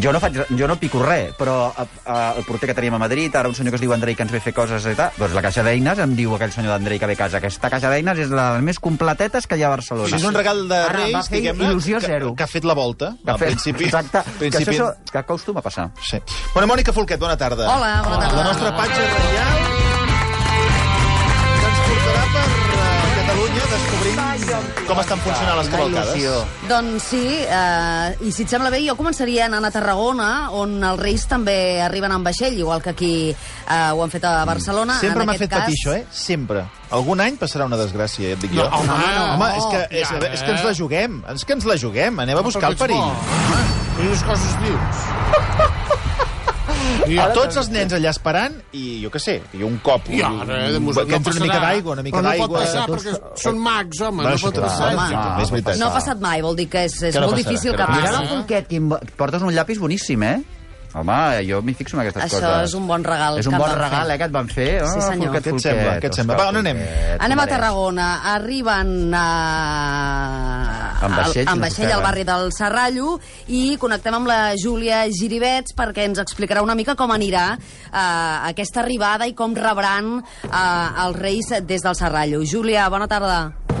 Speaker 1: Jo no, faig, jo no pico res, però eh, eh, el porter que teníem a Madrid, ara un senyor que es diu Andrei que ens ve a fer coses i tal, doncs la caixa d'eines em diu aquell senyor d'Andrei que ve a casa. Aquesta caixa d'eines és la de les més completetes que hi ha a Barcelona.
Speaker 2: Això és un regal de
Speaker 1: Ara, em va
Speaker 2: Reis,
Speaker 1: fer
Speaker 2: diguem-ne,
Speaker 1: il·lusió
Speaker 2: que,
Speaker 1: zero.
Speaker 2: que ha fet la volta.
Speaker 1: Que
Speaker 2: al
Speaker 1: fet-
Speaker 2: principi,
Speaker 1: Exacte,
Speaker 2: principi,
Speaker 1: que això és el que acostuma a passar.
Speaker 2: Sí. Bona Mònica Folquet, bona tarda.
Speaker 15: Hola, bona tarda.
Speaker 2: La nostra patxa reial que ens portarà per eh, Catalunya descobrint com estan funcionant les cavalcades.
Speaker 15: Doncs sí, eh, i si et sembla bé, jo començaria anant a Tarragona, on els Reis també arriben amb vaixell, igual que aquí eh, ho han fet
Speaker 1: Mm.
Speaker 15: a Barcelona.
Speaker 2: Sempre
Speaker 15: En
Speaker 2: m'ha
Speaker 15: aquest
Speaker 2: fet patir això, eh? Sempre. Algun any passarà una desgràcia, ja et dic
Speaker 11: No,
Speaker 2: jo.
Speaker 11: home, no.
Speaker 2: home és, que, és,
Speaker 11: Ja, eh?
Speaker 2: és que ens la juguem. És que ens la juguem. Anem a buscar el perill.
Speaker 11: I unes coses dius.
Speaker 2: I a tots els nens allà esperant, i jo què sé, i un cop...
Speaker 11: I ara, eh, de música,
Speaker 2: que entri
Speaker 11: no
Speaker 2: una mica
Speaker 11: passarà.
Speaker 2: d'aigua, una mica
Speaker 11: Però no
Speaker 2: d'aigua...
Speaker 11: pot passar, perquè són mags, home, no pot passar.
Speaker 2: Home,
Speaker 11: Home,
Speaker 2: és veritat.
Speaker 15: No ha passat mai, vol dir que és, és
Speaker 1: Que no
Speaker 15: molt
Speaker 1: passarà,
Speaker 15: difícil
Speaker 1: que
Speaker 15: que
Speaker 1: no Mira el
Speaker 15: passi.
Speaker 1: punquet, Quim, portes un llapis boníssim, eh? Home, jo m'hi fixo en aquestes
Speaker 15: Això
Speaker 1: coses.
Speaker 15: és un bon regal
Speaker 1: És
Speaker 15: que
Speaker 1: un
Speaker 15: em
Speaker 1: bon
Speaker 15: van
Speaker 1: regal,
Speaker 15: fer.
Speaker 1: eh, que et van fer.
Speaker 15: Sí, senyor.
Speaker 2: Què et sembla? Què et sembla? Va, on anem?
Speaker 15: Anem a Tarragona. Arriben a...
Speaker 1: Amb vaixell,
Speaker 15: al,
Speaker 1: si
Speaker 15: amb
Speaker 1: no
Speaker 15: vaixell al
Speaker 1: s'ofeguen.
Speaker 15: barri del Serrallo i connectem amb la Júlia Giribets perquè ens explicarà una mica com anirà eh, aquesta arribada i com rebran eh, els Reis des del Serrallo. Júlia, bona tarda.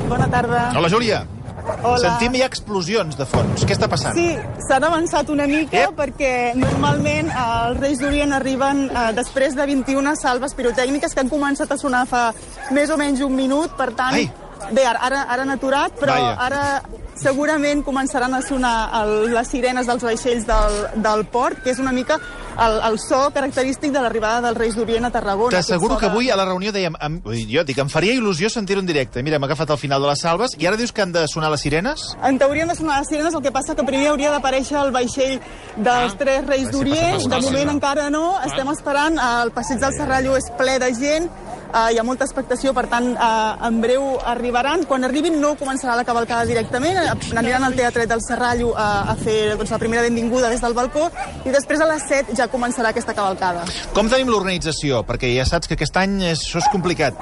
Speaker 16: Bona tarda.
Speaker 2: Hola, Júlia.
Speaker 16: Hola.
Speaker 2: Sentim hi ha explosions de fons. Què està passant?
Speaker 16: Sí, s'han avançat una mica perquè normalment eh, els Reis d'Orient arriben eh, després de 21 salves pirotècniques que han començat a sonar fa més o menys un minut, per tant... Ai. Bé, ara- ara, ara han aturat, però
Speaker 9: Vaja.
Speaker 16: ara segurament començaran a sonar el, les sirenes dels vaixells del, del port, que és una mica el, el so característic de l'arribada dels Reis d'Orient a Tarragona.
Speaker 2: T'asseguro
Speaker 16: Aquest
Speaker 2: que
Speaker 16: so de-
Speaker 2: avui a la reunió dèiem... Em, vull dir, jo dic, em faria il·lusió sentir-ho en directe. Mira, hem agafat el final de les salves i ara dius que han de sonar les sirenes?
Speaker 16: En teoria han de sonar les sirenes, el que passa que primer hauria d'aparèixer el vaixell dels ah, Tres Reis d'Orient.
Speaker 2: passa
Speaker 16: De
Speaker 2: per Barcelona.
Speaker 16: moment encara no, estem esperant. El passeig del Serrallo és ple de gent, eh, hi ha molta expectació, per tant, eh, en breu arribaran. Quan arribin no començarà la cavalcada directament, eh, aniran al Teatre del Serrallo a, a fer doncs, la primera benvinguda des del balcó i després a les 7 ja començarà aquesta cavalcada.
Speaker 2: Com tenim l'organització? Perquè ja saps que aquest any és- això és complicat.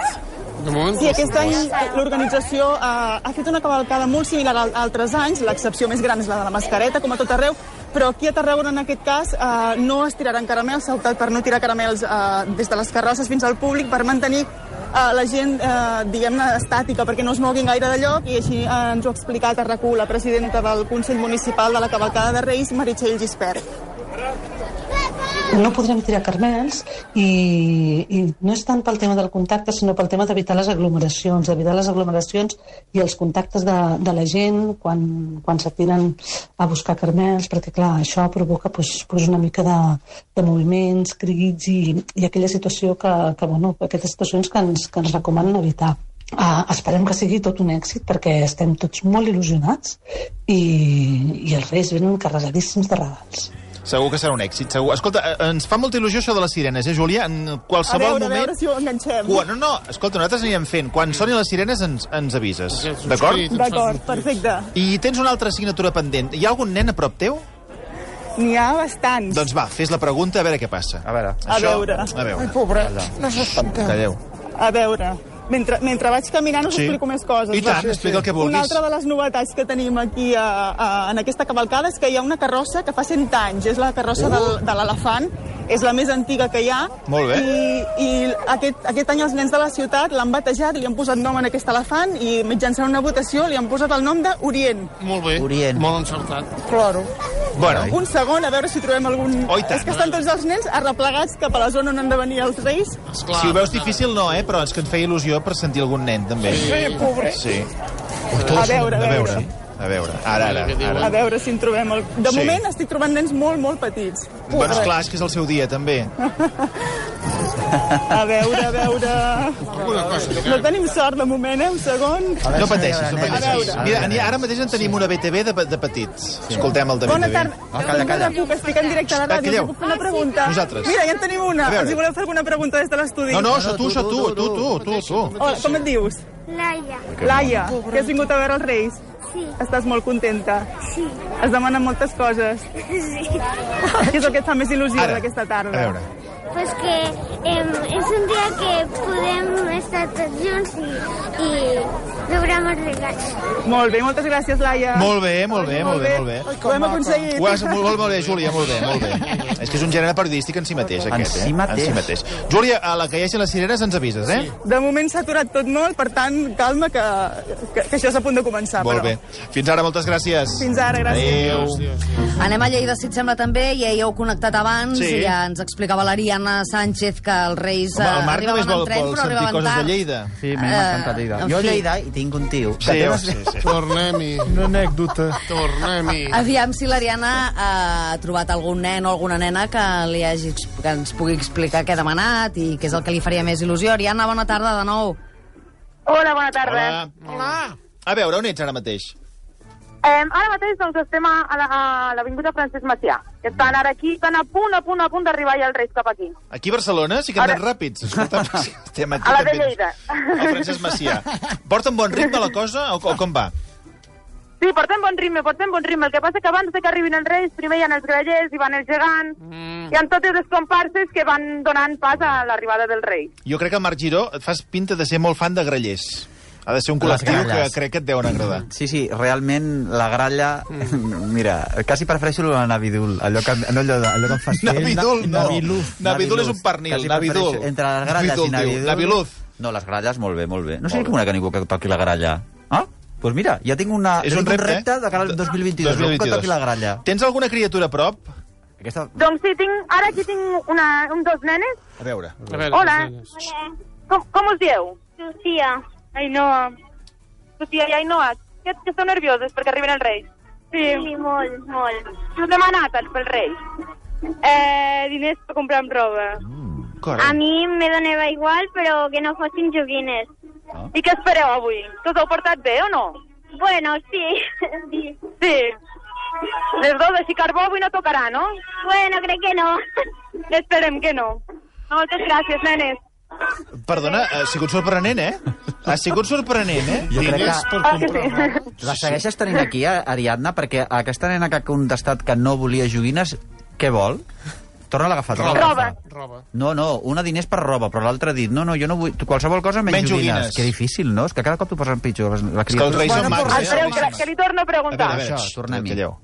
Speaker 2: De moment,
Speaker 16: Sí, aquest any l'organització eh, ha fet una cavalcada molt similar a altres anys, l'excepció més gran és la de la mascareta, com a tot arreu, però aquí a Tarragona, en aquest cas, eh, no es tiraran caramels, s'ha optat per no tirar caramels eh, des de les carrosses fins al públic per mantenir eh, la gent, eh, diguem-ne, estàtica, perquè no es moguin gaire de lloc, i així eh, ens ho ha explicat a RAC1 la presidenta del Consell Municipal de la Cavalcada de Reis, Meritxell Gispert.
Speaker 17: No podrem tirar carmels i, i no és tant pel tema del contacte, sinó pel tema d'evitar les aglomeracions, d'evitar les aglomeracions i els contactes de, de la gent quan, quan s'atiren a buscar carmels, perquè clar, això provoca pues, pues una mica de, de moviments, crits i, i aquella situació que, que bueno, aquestes situacions que ens, que ens recomanen evitar. Uh, esperem que sigui tot un èxit perquè estem tots molt il·lusionats i, i els reis venen carregadíssims de regals.
Speaker 2: Segur que serà un èxit, segur. Escolta, eh, ens fa molta il·lusió això de les sirenes, eh, Júlia? En
Speaker 16: A
Speaker 2: qualsevol
Speaker 16: veure, a
Speaker 2: moment...
Speaker 16: veure si ho enganxem.
Speaker 2: Quan, no, no, escolta, nosaltres anirem fent. Quan sonin les sirenes ens, ens avises,
Speaker 16: subscrit,
Speaker 2: d'acord?
Speaker 16: ens D'acord, fas- perfecte.
Speaker 2: I tens una altra assignatura pendent. Hi ha algun nen a prop teu?
Speaker 16: N'hi ha bastants.
Speaker 2: Doncs va, fes la pregunta, a veure què passa. A veure.
Speaker 16: A veure.
Speaker 2: A veure.
Speaker 16: Ai, pobret,
Speaker 2: Allà.
Speaker 16: no s'espanteu.
Speaker 2: Calleu.
Speaker 16: A veure, mentre, mentre vaig caminant us
Speaker 2: Sí.
Speaker 16: sí. explico més coses.
Speaker 2: I
Speaker 16: va.
Speaker 2: tant, explica el que vulguis.
Speaker 16: Una altra de les novetats que tenim aquí a, a, en aquesta cavalcada és que hi ha una carrossa que fa 100 anys, és la carrossa
Speaker 2: Uh.
Speaker 16: uh. del, de l'elefant, és la més antiga que hi ha.
Speaker 2: Molt bé.
Speaker 16: I, i aquest, aquest any els nens de la ciutat l'han batejat, li han posat nom en aquest elefant i mitjançant una votació li han posat el nom d'Orient.
Speaker 11: Molt bé.
Speaker 1: Orient.
Speaker 11: Molt encertat.
Speaker 16: Claro.
Speaker 2: Bueno.
Speaker 16: Un segon, a veure si trobem algun...
Speaker 2: Oh, i tant.
Speaker 16: és que estan tots els nens arreplegats cap a la zona on han de venir els reis.
Speaker 2: Clar, si ho veus difícil, no, eh? Però és que ens feia il·lusió per sentir algun nen, també.
Speaker 16: Sí, pobre.
Speaker 2: Sí.
Speaker 16: A veure, a
Speaker 2: A
Speaker 16: veure.
Speaker 2: veure, a veure. Ara, ara,
Speaker 16: A
Speaker 2: ara.
Speaker 16: veure si en trobem... El... De
Speaker 2: Sí.
Speaker 16: moment estic trobant nens molt, molt petits.
Speaker 2: Bueno, esclar, és que és el seu dia, també.
Speaker 16: A veure, a veure... No tenim sort de moment, eh? Un segon.
Speaker 2: No pateixis, no
Speaker 16: A
Speaker 2: pateixis.
Speaker 16: veure.
Speaker 2: Mira, ni- ara mateix en tenim una BTV de, de petits. Escoltem el de BTV.
Speaker 16: Bona tarda. Calla, calla. Puc, estic en directe a la
Speaker 2: Va,
Speaker 16: ràdio.
Speaker 2: calleu.
Speaker 16: us puc fer una pregunta?
Speaker 2: Nosaltres.
Speaker 16: Mira, ja en tenim una.
Speaker 2: A veure.
Speaker 16: Els hi voleu fer alguna pregunta des de l'estudi?
Speaker 2: No, no, això tu, això tu, tu, tu, tu, tu.
Speaker 16: Hola, com et dius?
Speaker 8: Laia.
Speaker 16: Laia, que has vingut a veure els Reis?
Speaker 8: Sí.
Speaker 16: Estàs molt contenta?
Speaker 8: Sí.
Speaker 16: Es demanen moltes coses.
Speaker 8: Sí.
Speaker 16: Què és el que et fa més il·lusió
Speaker 8: Ara,
Speaker 16: d'aquesta tarda?
Speaker 8: a veure. Pues que em, és un dia que podem estar tots junts i, i veure molts regals.
Speaker 16: Molt bé, moltes gràcies, Laia.
Speaker 2: Molt bé, molt bé, molt bé, molt bé.
Speaker 16: Ho hem aconseguit.
Speaker 2: Ho has, molt, molt, molt bé, eh? Júlia, molt bé, molt bé. És que és un gènere periodístic en si mateix, aquest. eh?
Speaker 1: si
Speaker 2: En
Speaker 1: mateix.
Speaker 2: si mateix. Júlia, a la que hi hagi les sirenes ens avises, eh?
Speaker 16: De moment s'ha aturat tot molt, per tant, calma, que, que, que això és a punt de començar.
Speaker 2: Molt
Speaker 16: però.
Speaker 2: bé. Fins ara, moltes gràcies.
Speaker 16: Fins ara, gràcies.
Speaker 2: Adéu.
Speaker 15: Anem a Lleida, si et sembla, també. Ja hi heu connectat abans.
Speaker 2: Sí.
Speaker 15: Sí. Ja ens explicava l'Ariana Sánchez que els Reis
Speaker 2: Home,
Speaker 15: eh,
Speaker 2: el Marc només
Speaker 15: arribaven
Speaker 2: vol,
Speaker 15: en tren,
Speaker 2: vol
Speaker 15: però
Speaker 2: sentir
Speaker 15: arribaven
Speaker 2: coses
Speaker 15: tard.
Speaker 2: de Lleida.
Speaker 1: Sí,
Speaker 15: Eh,
Speaker 1: m'ha encantat Lleida.
Speaker 15: en
Speaker 1: Jo a
Speaker 15: fi.
Speaker 1: Lleida hi tinc un tio.
Speaker 2: Sí,
Speaker 1: té
Speaker 2: home,
Speaker 1: les-
Speaker 2: sí, sí.
Speaker 11: Tornem-hi. Una
Speaker 5: anècdota.
Speaker 11: Tornem-hi.
Speaker 15: Aviam si l'Ariana eh, ha trobat algun nen o alguna nena que, li hagi, que ens pugui explicar què ha demanat i què és el que li faria més il·lusió. Ariana, bona tarda de nou.
Speaker 12: Hola, bona tarda.
Speaker 2: Hola. Hola. A veure, on ets ara mateix?
Speaker 12: Eh, ara mateix doncs, estem a, a la- a l'Avinguda Francesc Macià, que estan ara aquí, estan a punt, a punt, a punt d'arribar ja els Reis cap aquí,
Speaker 2: Aquí a Barcelona sí que anem
Speaker 12: Ara-
Speaker 2: ràpids. Escolta, estem aquí
Speaker 12: a la de
Speaker 2: també.
Speaker 12: Lleida.
Speaker 2: El Francesc Macià. Porta un bon ritme la cosa o, o com va?
Speaker 12: Sí, portem bon ritme, portem bon ritme. El que passa que abans de que arribin els Reis, primer hi ha els grallers, hi van els gegants, mm. hi ha totes les comparses que van donant pas a l'arribada del rei.
Speaker 2: Jo crec que Marc Giró et fas pinta de ser molt fan de grellers. Ha de ser un col·lectiu que
Speaker 1: gralles. Mm.
Speaker 2: crec que et deuen agradar.
Speaker 1: Sí, sí, realment la gralla... Mm. Mira, quasi prefereixo la Navidul, allò que, no allò, de- allò que em fa...
Speaker 2: Navidul, no.
Speaker 1: Navidul.
Speaker 2: Navidul és un pernil,
Speaker 1: Quasi
Speaker 2: Navidul.
Speaker 1: prefereixo- Entre les gralles
Speaker 2: Navidul,
Speaker 1: i
Speaker 2: diu.
Speaker 1: Navidul...
Speaker 2: Naviluz.
Speaker 1: No, les gralles, molt bé, molt bé. No sé com una que ningú que toqui la gralla. Ah? Doncs pues mira, ja tinc una,
Speaker 2: És
Speaker 1: ja
Speaker 2: un
Speaker 1: tinc
Speaker 2: repte, eh?
Speaker 1: repte de cara al 2022. 2022. que toqui la gralla.
Speaker 2: Tens alguna criatura a prop?
Speaker 1: Aquesta...
Speaker 12: Doncs sí, tinc, ara aquí tinc una, un, dos nenes.
Speaker 2: A veure. A
Speaker 12: Hola. Hola. Com, com us dieu? Lucía. Ainhoa. Lucía i Ainhoa, que, que esteu nervioses perquè arriben els Reis? Sí. sí molt, molt. Què us demanat pels Reis? Eh, diners per comprar amb roba.
Speaker 8: A mi me donava igual, però que no fossin joguines.
Speaker 12: I què espereu avui? Que us heu portat bé o no?
Speaker 8: Bueno, sí. sí.
Speaker 12: Sí. Les dos així carbó avui no tocarà, no?
Speaker 8: Bueno, crec que no.
Speaker 12: Esperem que no. Moltes gràcies, nenes.
Speaker 2: Perdona, ha sigut sorprenent, eh? Ha sigut sorprenent, eh?
Speaker 1: Jo crec
Speaker 2: Diners
Speaker 1: que-
Speaker 2: per
Speaker 12: Ah, que
Speaker 2: comprar roba.
Speaker 1: La segueixes tenint aquí, eh, Ariadna, perquè aquesta nena que ha contestat que no volia joguines, què vol? Torna a l'agafar. torna-la a
Speaker 12: Roba.
Speaker 1: agafar. No, no, una diners per roba, però l'altra ha dit, no, no, jo no vull qualsevol cosa menys,
Speaker 2: Menys joguines.
Speaker 1: Que difícil, no? És que cada cop t'ho posen pitjor. Les, la
Speaker 2: que els Reis són
Speaker 1: Bueno,
Speaker 2: mags,
Speaker 1: però-
Speaker 2: eh?
Speaker 12: Espereu, que, que li torno a preguntar.
Speaker 2: A veure, a veure,
Speaker 1: Això, tornem-hi.
Speaker 2: Calleu.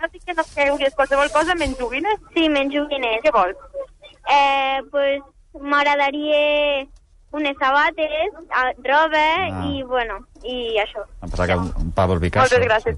Speaker 12: Així que no sé, Uri, qualsevol cosa menys joguines?
Speaker 8: Sí, menys joguines.
Speaker 12: Què vols?
Speaker 8: Eh, pues, m'agradaria unes sabates, a- roba
Speaker 1: Ah.
Speaker 8: i, bueno, i això.
Speaker 1: Em pensava que un, un Pablo Picasso.
Speaker 12: Moltes gràcies.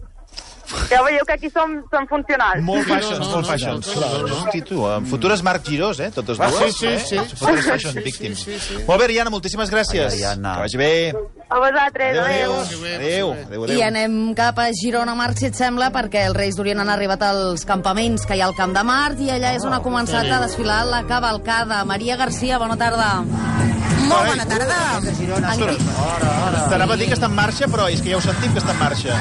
Speaker 12: Ja veieu que aquí som, som funcionals.
Speaker 2: Molt fashions, molt fashions. Hosti, tu, amb futures Marc Girós, eh? Totes
Speaker 12: Ah,
Speaker 2: dues.
Speaker 12: sí, sí,
Speaker 2: eh?
Speaker 12: sí.
Speaker 2: Futures fashion
Speaker 12: Sí, sí,
Speaker 2: victims.
Speaker 12: sí, sí.
Speaker 2: Molt bé, Ariana, moltíssimes gràcies.
Speaker 1: Ai, Ariadna.
Speaker 2: Que vagi bé.
Speaker 12: A vosaltres, adéu.
Speaker 2: Adéu, adéu,
Speaker 15: I
Speaker 2: adéu.
Speaker 15: anem cap a Girona, Marc, si et sembla, perquè els Reis d'Orient han arribat als campaments que hi ha al Camp de Mart i allà és
Speaker 2: Oh,
Speaker 15: on ha començat a desfilar la cavalcada. Maria Garcia, bona tarda. Molt bona tarda.
Speaker 2: T'anava a dir que està en marxa, però és que ja ho sentim que està en marxa.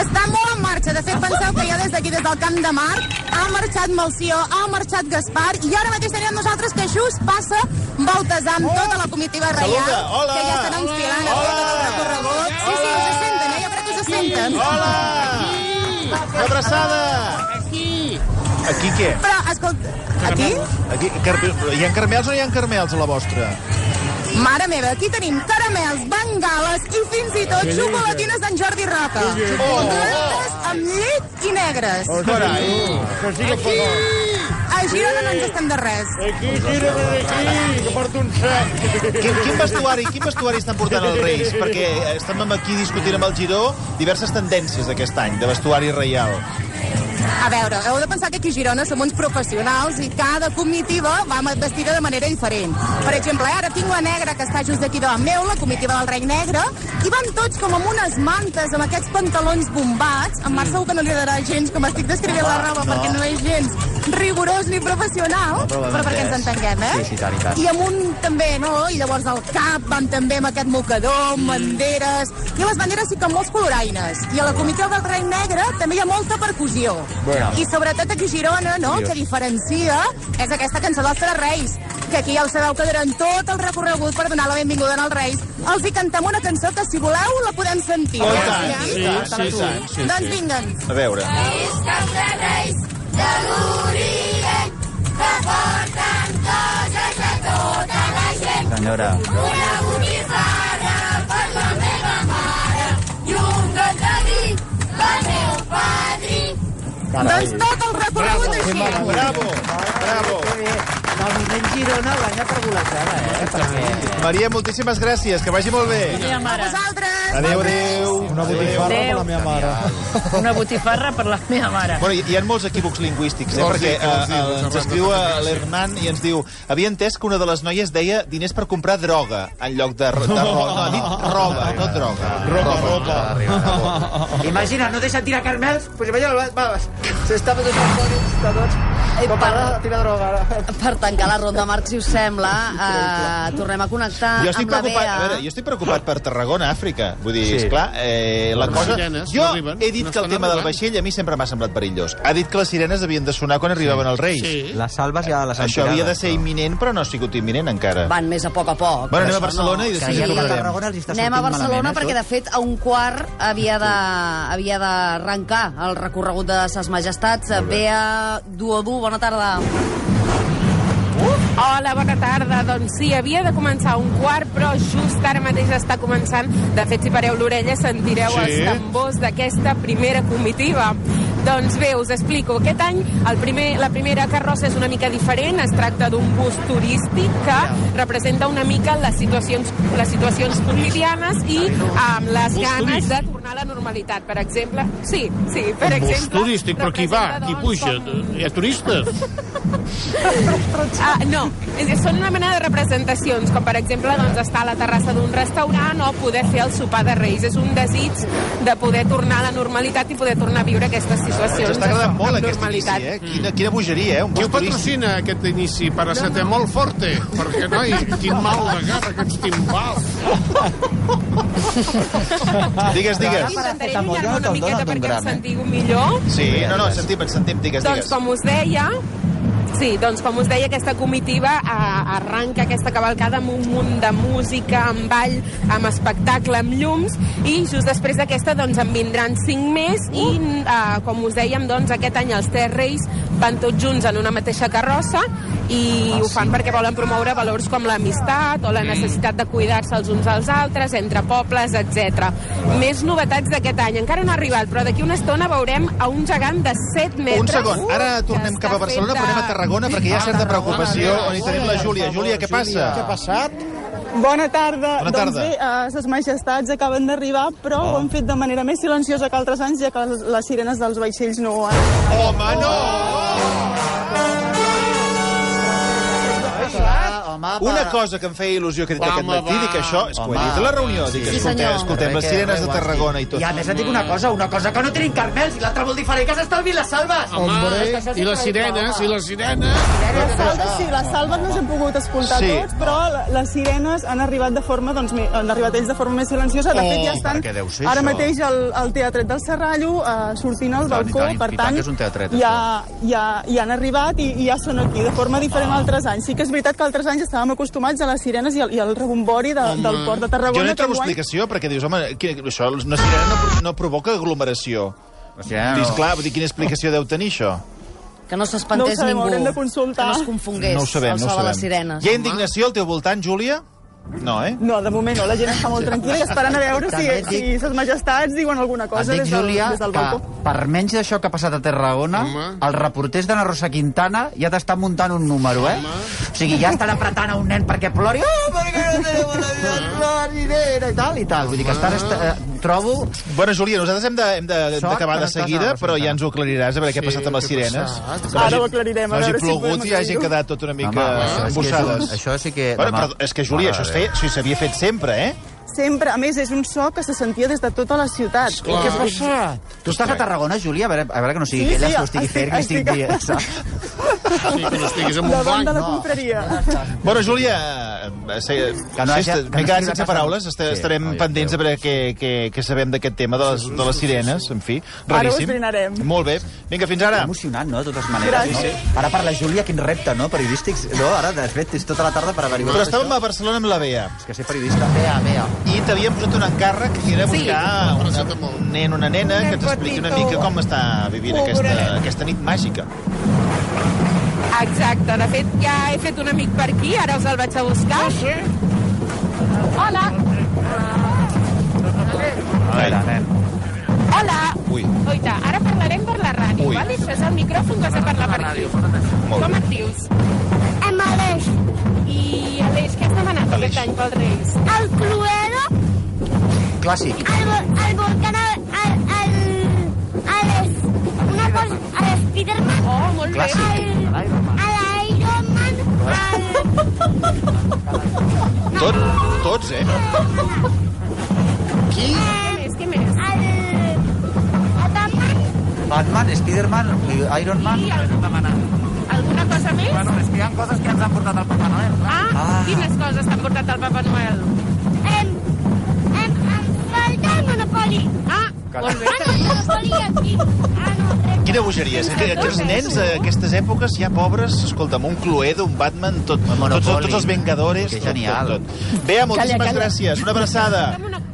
Speaker 9: Està molt en marxa. De fet, penseu que ja des d'aquí, des del Camp de Mar, ha marxat Malció, ha marxat Gaspar, i ara mateix tenim amb nosaltres que just passa Baltasar
Speaker 16: Oh.
Speaker 9: amb tota la comitiva reial,
Speaker 2: Saluda, hola.
Speaker 9: que ja estan enfilant a tot el recorregut. Sí, sí, us senten, eh? Jo crec que us senten.
Speaker 2: Hola! Una abraçada!
Speaker 9: Aquí!
Speaker 2: Aquí què?
Speaker 9: Però, escolta, aquí?
Speaker 2: Aquí, carme... Hi ha carmels o no hi ha carmels a la vostra?
Speaker 9: Mare meva, aquí tenim caramels, bengales i fins i tot xocolatines d'en Jordi Roca. Blanques amb llet i negres.
Speaker 2: Carai!
Speaker 9: Aquí! A Girona no ens estem de res. Aquí, Girona, aquí, que porto un sac.
Speaker 2: Quin, quin, vestuari, quin vestuari estan portant els Reis? Perquè eh, estem amb aquí discutint amb el Giró diverses tendències d'aquest any, de vestuari reial.
Speaker 9: A veure, heu de pensar que aquí a Girona som uns professionals i cada comitiva va vestida de manera diferent. Per exemple, eh, ara tinc la negra que està just aquí davant meu, la comitiva del rei negre, i van tots com amb unes mantes, amb aquests pantalons bombats. En Marc segur que no li agradarà gens com estic descrivint la roba,
Speaker 1: No.
Speaker 9: perquè no és gens rigorós ni professional,
Speaker 1: No, però l'hem
Speaker 9: però perquè ens
Speaker 1: entès.
Speaker 9: entenguem, eh?
Speaker 1: Sí, sí, tant i tant.
Speaker 9: I amb un també, no? I llavors al cap van també amb aquest mocador,
Speaker 2: Mm.
Speaker 9: amb banderes... I a les banderes sí que amb molts coloraines. I a la comitiva del Rei Negre també hi ha molta percussió.
Speaker 18: Bueno.
Speaker 9: I sobretot aquí a Girona, no?,
Speaker 18: Dios.
Speaker 9: que diferencia és aquesta cançó dels Tres Reis, que aquí ja ho sabeu que durant tot el recorregut per donar la benvinguda als Reis els hi cantem una cançó que, si voleu, la podem sentir.
Speaker 2: Oh, i
Speaker 9: Eh?
Speaker 2: tant,
Speaker 9: Sí?
Speaker 2: sí, sí, i tant, sí,
Speaker 9: Doncs
Speaker 2: sí.
Speaker 9: vinga'n.
Speaker 2: A veure.
Speaker 1: Senyora.
Speaker 9: Doncs tot el recorregut així.
Speaker 2: Bravo, bravo.
Speaker 13: El moviment Girona guanya per golejada, eh? Perquè...
Speaker 2: Maria, moltíssimes gràcies, que vagi molt bé.
Speaker 9: A vosaltres.
Speaker 2: Adéu, adéu. Una
Speaker 5: botifarra per la meva mare.
Speaker 3: Una botifarra per la meva mare.
Speaker 2: Bueno, hi- hi ha molts equívocs lingüístics, eh?
Speaker 4: Oh, sí,
Speaker 2: perquè
Speaker 4: oh, sí,
Speaker 2: eh, eh,
Speaker 4: Montserrat,
Speaker 2: ens escriu
Speaker 4: no
Speaker 2: eh,
Speaker 4: t'agrada.
Speaker 2: l'Hernan i ens diu havia entès que una de les noies deia diners per comprar droga en lloc de, ro- de roba. No, ha dit roba, no droga. Roba,
Speaker 13: Imagina, no deixen tirar carmels, pues vaja, va, va, s'estava tot el codi, està tots...
Speaker 15: Eh,
Speaker 16: Com ara, tira droga, ara.
Speaker 15: Per tancar la ronda, Marc, si us sembla, eh, tornem a connectar
Speaker 2: Jo estic,
Speaker 15: amb la
Speaker 2: preocupat,
Speaker 15: Bea.
Speaker 2: a veure, jo estic preocupat per Tarragona, Àfrica. Vull dir,
Speaker 4: Sí.
Speaker 2: sí. esclar, eh, la
Speaker 4: Les
Speaker 2: cosa...
Speaker 4: sirenes
Speaker 2: jo
Speaker 4: no arriben,
Speaker 2: he dit
Speaker 4: no
Speaker 2: que el
Speaker 4: estan
Speaker 2: tema del
Speaker 4: arribant.
Speaker 2: vaixell a mi sempre m'ha semblat perillós. Ha dit que les sirenes havien de sonar quan arribaven els Reis.
Speaker 11: Sí.
Speaker 1: Les salves ja les han
Speaker 2: Això havia de
Speaker 1: tirades,
Speaker 2: ser
Speaker 1: però.
Speaker 2: imminent, però no ha sigut imminent encara.
Speaker 15: Van més a poc a poc.
Speaker 2: Bueno, anem
Speaker 15: però
Speaker 2: a
Speaker 15: això
Speaker 2: Barcelona i després
Speaker 15: Sí.
Speaker 2: ja tornarem.
Speaker 15: Anem a
Speaker 19: eh,
Speaker 15: Barcelona perquè, de fet, a un quart havia de- havia d'arrencar el recorregut de Ses Majestats. Bea Duodú, bona tarda.
Speaker 18: Hola, bona tarda. Doncs sí, havia de començar un quart, però just ara mateix està començant. De fet, si pareu l'orella, sentireu
Speaker 20: Sí.
Speaker 18: sí. els tambors d'aquesta primera comitiva. Doncs bé, us explico. Aquest any el primer, la primera carrossa és una mica diferent. Es tracta d'un bus turístic que representa una mica les situacions, les situacions quotidianes i amb les
Speaker 11: Bus
Speaker 18: ganes
Speaker 11: turístic.
Speaker 18: de tornar a la normalitat. Per exemple, sí, sí, per
Speaker 11: Per un bus
Speaker 18: exemple...
Speaker 11: turístic, però qui va?
Speaker 18: representa,
Speaker 11: Qui
Speaker 18: doncs,
Speaker 11: puja?
Speaker 18: com-
Speaker 11: Hi ha turistes?
Speaker 18: Ah, no, És- són una mena de representacions, com per exemple doncs, estar a la terrassa d'un restaurant o poder fer el sopar de Reis. És un desig de poder tornar a la normalitat i poder tornar a viure aquestes situacions.
Speaker 2: Ens està agradant
Speaker 18: això,
Speaker 2: molt
Speaker 18: amb
Speaker 2: aquest
Speaker 18: normalitat.
Speaker 2: inici, eh? Quina, quina bogeria, eh? Un
Speaker 11: Qui
Speaker 2: bus
Speaker 11: ho
Speaker 2: turístic.
Speaker 11: patrocina, aquest inici? Paracetamol forte. Perquè, noi, quin mal de cap, aquests timbals.
Speaker 2: Digues, digues.
Speaker 18: Intentaré allunyar-me una miqueta perquè em sentiu millor.
Speaker 2: Sí, no, no, sentim, ens sentim, digues,
Speaker 18: Doncs
Speaker 2: digues.
Speaker 18: com us deia, sí, doncs com us deia, aquesta comitiva eh, arranca aquesta cavalcada amb un munt de música, amb ball, amb espectacle, amb llums, i just després d'aquesta doncs en vindran cinc més, i eh, com us dèiem, doncs aquest any els Tres Reis van tots junts en una mateixa carrossa i
Speaker 2: Ah,
Speaker 18: ho fan perquè volen promoure valors com l'amistat
Speaker 2: Mm.
Speaker 18: o la necessitat de cuidar-se els uns als altres, entre pobles, etc. Més novetats d'aquest any. Encara no ha arribat, però d'aquí una estona veurem a un gegant de 7 metres.
Speaker 2: Un segon, ara tornem cap a Barcelona, però anem a Tarragona, perquè hi ha
Speaker 18: Ah,
Speaker 2: certa preocupació on hi tenim la Júlia. Júlia, què passa?
Speaker 16: ha passat? Bona tarda.
Speaker 2: Bona tarda. Oh.
Speaker 16: Doncs bé, eh, ses majestats acaben d'arribar, però ho han fet de manera més silenciosa que altres anys, ja que les, les sirenes dels vaixells no ho han...
Speaker 2: Home, no! Una cosa que em feia il·lusió que he dit aquest matí, dic això, és que ho he dit a la reunió, dic,
Speaker 13: Sí,
Speaker 2: escolteu,
Speaker 13: senyor.
Speaker 2: escoltem, les
Speaker 13: Rebecca,
Speaker 2: sirenes de
Speaker 13: Rebecca,
Speaker 2: Tarragona i tot. Mm.
Speaker 13: I a més et dic una cosa, una cosa que no tenim carmels i l'altra molt diferent, que s'estalvi les salves.
Speaker 11: Home, i les sirenes, i les sirenes...
Speaker 16: Les salves, sí, les salves no s'han pogut escoltar
Speaker 11: Sí.
Speaker 16: tots, però la- les sirenes han arribat de forma, doncs, mi- han arribat ells de forma més silenciosa. De
Speaker 11: Oh,
Speaker 16: fet, ja estan
Speaker 11: perquè deu ser
Speaker 16: ara
Speaker 11: això.
Speaker 16: mateix al, al Teatret del Serrallo, eh, sortint al
Speaker 11: tant, i
Speaker 16: balcó,
Speaker 11: tant, i
Speaker 16: per
Speaker 11: tant
Speaker 16: tant,
Speaker 11: que és un teatret,
Speaker 16: ja, ja, ja han arribat i, i ja són aquí, de forma diferent a altres anys. Sí que és veritat que altres anys estàvem acostumats a les sirenes i al, i al rebombori de,
Speaker 18: Mm.
Speaker 16: del port de
Speaker 2: Mm. Jo
Speaker 16: Tarragona.
Speaker 2: no hi
Speaker 16: que
Speaker 2: trobo
Speaker 16: enguany-
Speaker 2: explicació, perquè dius, home, qui- això, una sirena no, pro- no provoca aglomeració.
Speaker 1: ja no.
Speaker 2: Dius, clar, vull dir, quina explicació deu tenir això?
Speaker 15: Que no s'espantés
Speaker 16: No ho sabem,
Speaker 15: ningú.
Speaker 16: haurem de consultar.
Speaker 15: Que no es confongués
Speaker 2: no ho sabem,
Speaker 15: el
Speaker 2: no ho
Speaker 15: so de
Speaker 2: sabem.
Speaker 15: les sirenes.
Speaker 2: Hi ha indignació al teu voltant, Júlia? No, eh?
Speaker 16: No, de moment no, la gent està molt tranquil·la i esperant a veure si,
Speaker 1: També et
Speaker 16: si ses majestats diuen alguna cosa
Speaker 1: Et dic,
Speaker 16: des del,
Speaker 1: Júlia,
Speaker 16: des del
Speaker 1: que
Speaker 16: balcó.
Speaker 1: per menys d'això que ha passat a Tarragona, els reporters d'Anna Rosa Quintana ja t'estan muntant un número, eh? O sigui, ja estan apretant a un nen perquè plori. Ah, perquè no tenim la- la nirera i tal, i tal. Vull dir que estan... Est eh, trobo...
Speaker 2: Bueno, Júlia, nosaltres hem de- hem de-
Speaker 1: Sort
Speaker 2: d'acabar de, de
Speaker 1: que no estàs
Speaker 2: seguida,
Speaker 1: ara,
Speaker 2: però ja ens ho aclariràs, a veure què ha passat amb les
Speaker 1: què ha
Speaker 2: sirenes.
Speaker 1: passat?
Speaker 2: Que no
Speaker 1: Ara
Speaker 2: hagi-
Speaker 1: ho aclarirem, a
Speaker 2: No hagi
Speaker 1: veure si
Speaker 2: plogut i
Speaker 1: podem
Speaker 2: hagi
Speaker 1: aclarir-ho.
Speaker 2: quedat tot una mica
Speaker 1: Home, això és que és un-
Speaker 2: embossades.
Speaker 1: això sí que
Speaker 2: Bueno,
Speaker 1: demà-
Speaker 2: però és que, Júlia,
Speaker 1: Mare
Speaker 2: això es
Speaker 1: de
Speaker 2: feia- això s'havia fet sempre, eh?
Speaker 16: Sempre, a més, és un so que se sentia des de tota la ciutat.
Speaker 1: Què ha passat? Tu estàs a Tarragona, Júlia? A veure, a veure que no sigui
Speaker 16: Sí,
Speaker 1: que ella
Speaker 16: sí,
Speaker 1: que ho estigui
Speaker 16: estic-
Speaker 1: fent, que estic
Speaker 16: estic-
Speaker 1: dient, saps?
Speaker 11: Sí, que no estiguis en un
Speaker 16: Davant
Speaker 11: banc.
Speaker 16: de la
Speaker 11: No.
Speaker 16: confraria.
Speaker 2: Bueno, Júlia, eh, se-
Speaker 1: Que no
Speaker 2: sí,
Speaker 1: hagi-
Speaker 2: est-
Speaker 1: que no
Speaker 2: m'he quedat
Speaker 1: hagi
Speaker 2: sense
Speaker 1: passat.
Speaker 2: paraules, est-
Speaker 1: Sí,
Speaker 2: estarem
Speaker 1: ai,
Speaker 2: pendents a veure què, què, què sabem d'aquest tema de les, de les sirenes, en fi,
Speaker 16: Ara ho
Speaker 2: raríssim.
Speaker 16: esbrinarem.
Speaker 2: Molt bé, vinga, fins ara.
Speaker 1: Emocionant, no?, de totes maneres.
Speaker 2: Gràcies.
Speaker 1: No? Ara per la Júlia, quin repte, no?, periodístics. No, ara, de fet, és tota la tarda per averiguar
Speaker 2: Però
Speaker 1: tot
Speaker 2: estàvem
Speaker 1: això.
Speaker 2: a Barcelona amb la Bea.
Speaker 1: És que ser periodista... Bea, Bea.
Speaker 2: I t'havíem posat un encàrrec que era
Speaker 1: Sí.
Speaker 2: buscar un, un nen o una nena que ens expliqui una mica com està vivint aquesta, aquesta nit màgica.
Speaker 18: Exacte, de fet ja he fet un amic per aquí, ara us el vaig a buscar. Hola,
Speaker 2: Ai.
Speaker 18: hola.
Speaker 2: Ui.
Speaker 18: Oita, ara parlarem per la ràdio,
Speaker 2: Ui.
Speaker 18: vale? Això és el micròfon que has de parlar per aquí.
Speaker 2: Molt
Speaker 18: Com
Speaker 2: bé.
Speaker 18: et dius? Amb Aleix. I Aleix, què has demanat aquest any pels Reis?
Speaker 8: El Cluedo,
Speaker 1: Clàssic.
Speaker 8: el, vol- el volcán, el... el, el, el una cosa, el Spiderman.
Speaker 18: Oh, molt
Speaker 8: bé. El, Iron Man,
Speaker 2: Tot, tots, eh?
Speaker 18: Qui?
Speaker 8: Eh,
Speaker 18: Què més, què més?
Speaker 1: Batman, Spiderman, Iron Man...
Speaker 18: I el, Alguna cosa més?
Speaker 7: Bueno, és que hi ha coses que ens han portat al Papa Noel.
Speaker 18: Ah,
Speaker 7: Ah.
Speaker 18: quines coses t'han portat el Papa Noel?
Speaker 8: Em, em, em falta el Monopoli.
Speaker 18: Ah,
Speaker 2: Carai.
Speaker 8: Ah, no, el Monopoli aquí. Ah, no,
Speaker 2: Quina bogeria. és que
Speaker 1: eh,
Speaker 2: Aquests nens, a aquestes èpoques, ja pobres, escolta'm, un Cluedo, un Batman, tot, tots, tots els Vengadores,
Speaker 1: Que
Speaker 2: tot,
Speaker 1: genial.
Speaker 2: tot, tot. Bea, moltíssimes
Speaker 1: Calla, calla.
Speaker 2: gràcies. Una abraçada.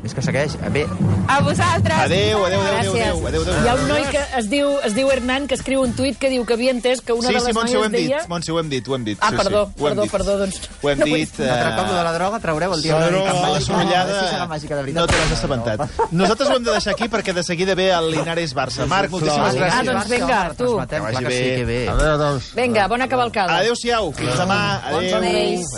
Speaker 1: És que segueix. Bé,
Speaker 18: A vosaltres.
Speaker 2: Adéu, adéu, adéu, adéu,
Speaker 3: Gràcies.
Speaker 2: adéu, adéu, adéu.
Speaker 3: Hi ha un noi que es diu, es diu Hernán que escriu un tuit que diu que havia entès que una
Speaker 2: sí,
Speaker 3: de les
Speaker 2: sí, Montse, ho
Speaker 3: noies
Speaker 2: hem dit,
Speaker 3: deia...
Speaker 2: Montse, ho hem dit, ho hem dit.
Speaker 3: Ah,
Speaker 2: sí,
Speaker 3: perdó,
Speaker 2: sí, ho hem
Speaker 3: perdó,
Speaker 2: dit.
Speaker 3: perdó, doncs...
Speaker 2: Ho hem
Speaker 3: no vull-
Speaker 2: dit... eh,
Speaker 1: Un altre cop, lo de la droga, traureu el
Speaker 2: Soro,
Speaker 1: dia. una mica
Speaker 2: la
Speaker 1: màgica.
Speaker 2: sorollada...
Speaker 1: Sí, serà màgica, de veritat.
Speaker 2: No te l'has assabentat. Nosaltres ho hem de deixar aquí perquè de seguida ve el Linares Barça. Marc, moltíssimes
Speaker 3: Ah,
Speaker 2: gràcies.
Speaker 3: doncs vinga, tu.
Speaker 1: Clar que sí, que bé.
Speaker 2: Adéu,
Speaker 3: Vinga, bona cavalcada.
Speaker 2: Adéu-siau. Fins demà.
Speaker 3: Bons
Speaker 2: Adéu.
Speaker 3: anells.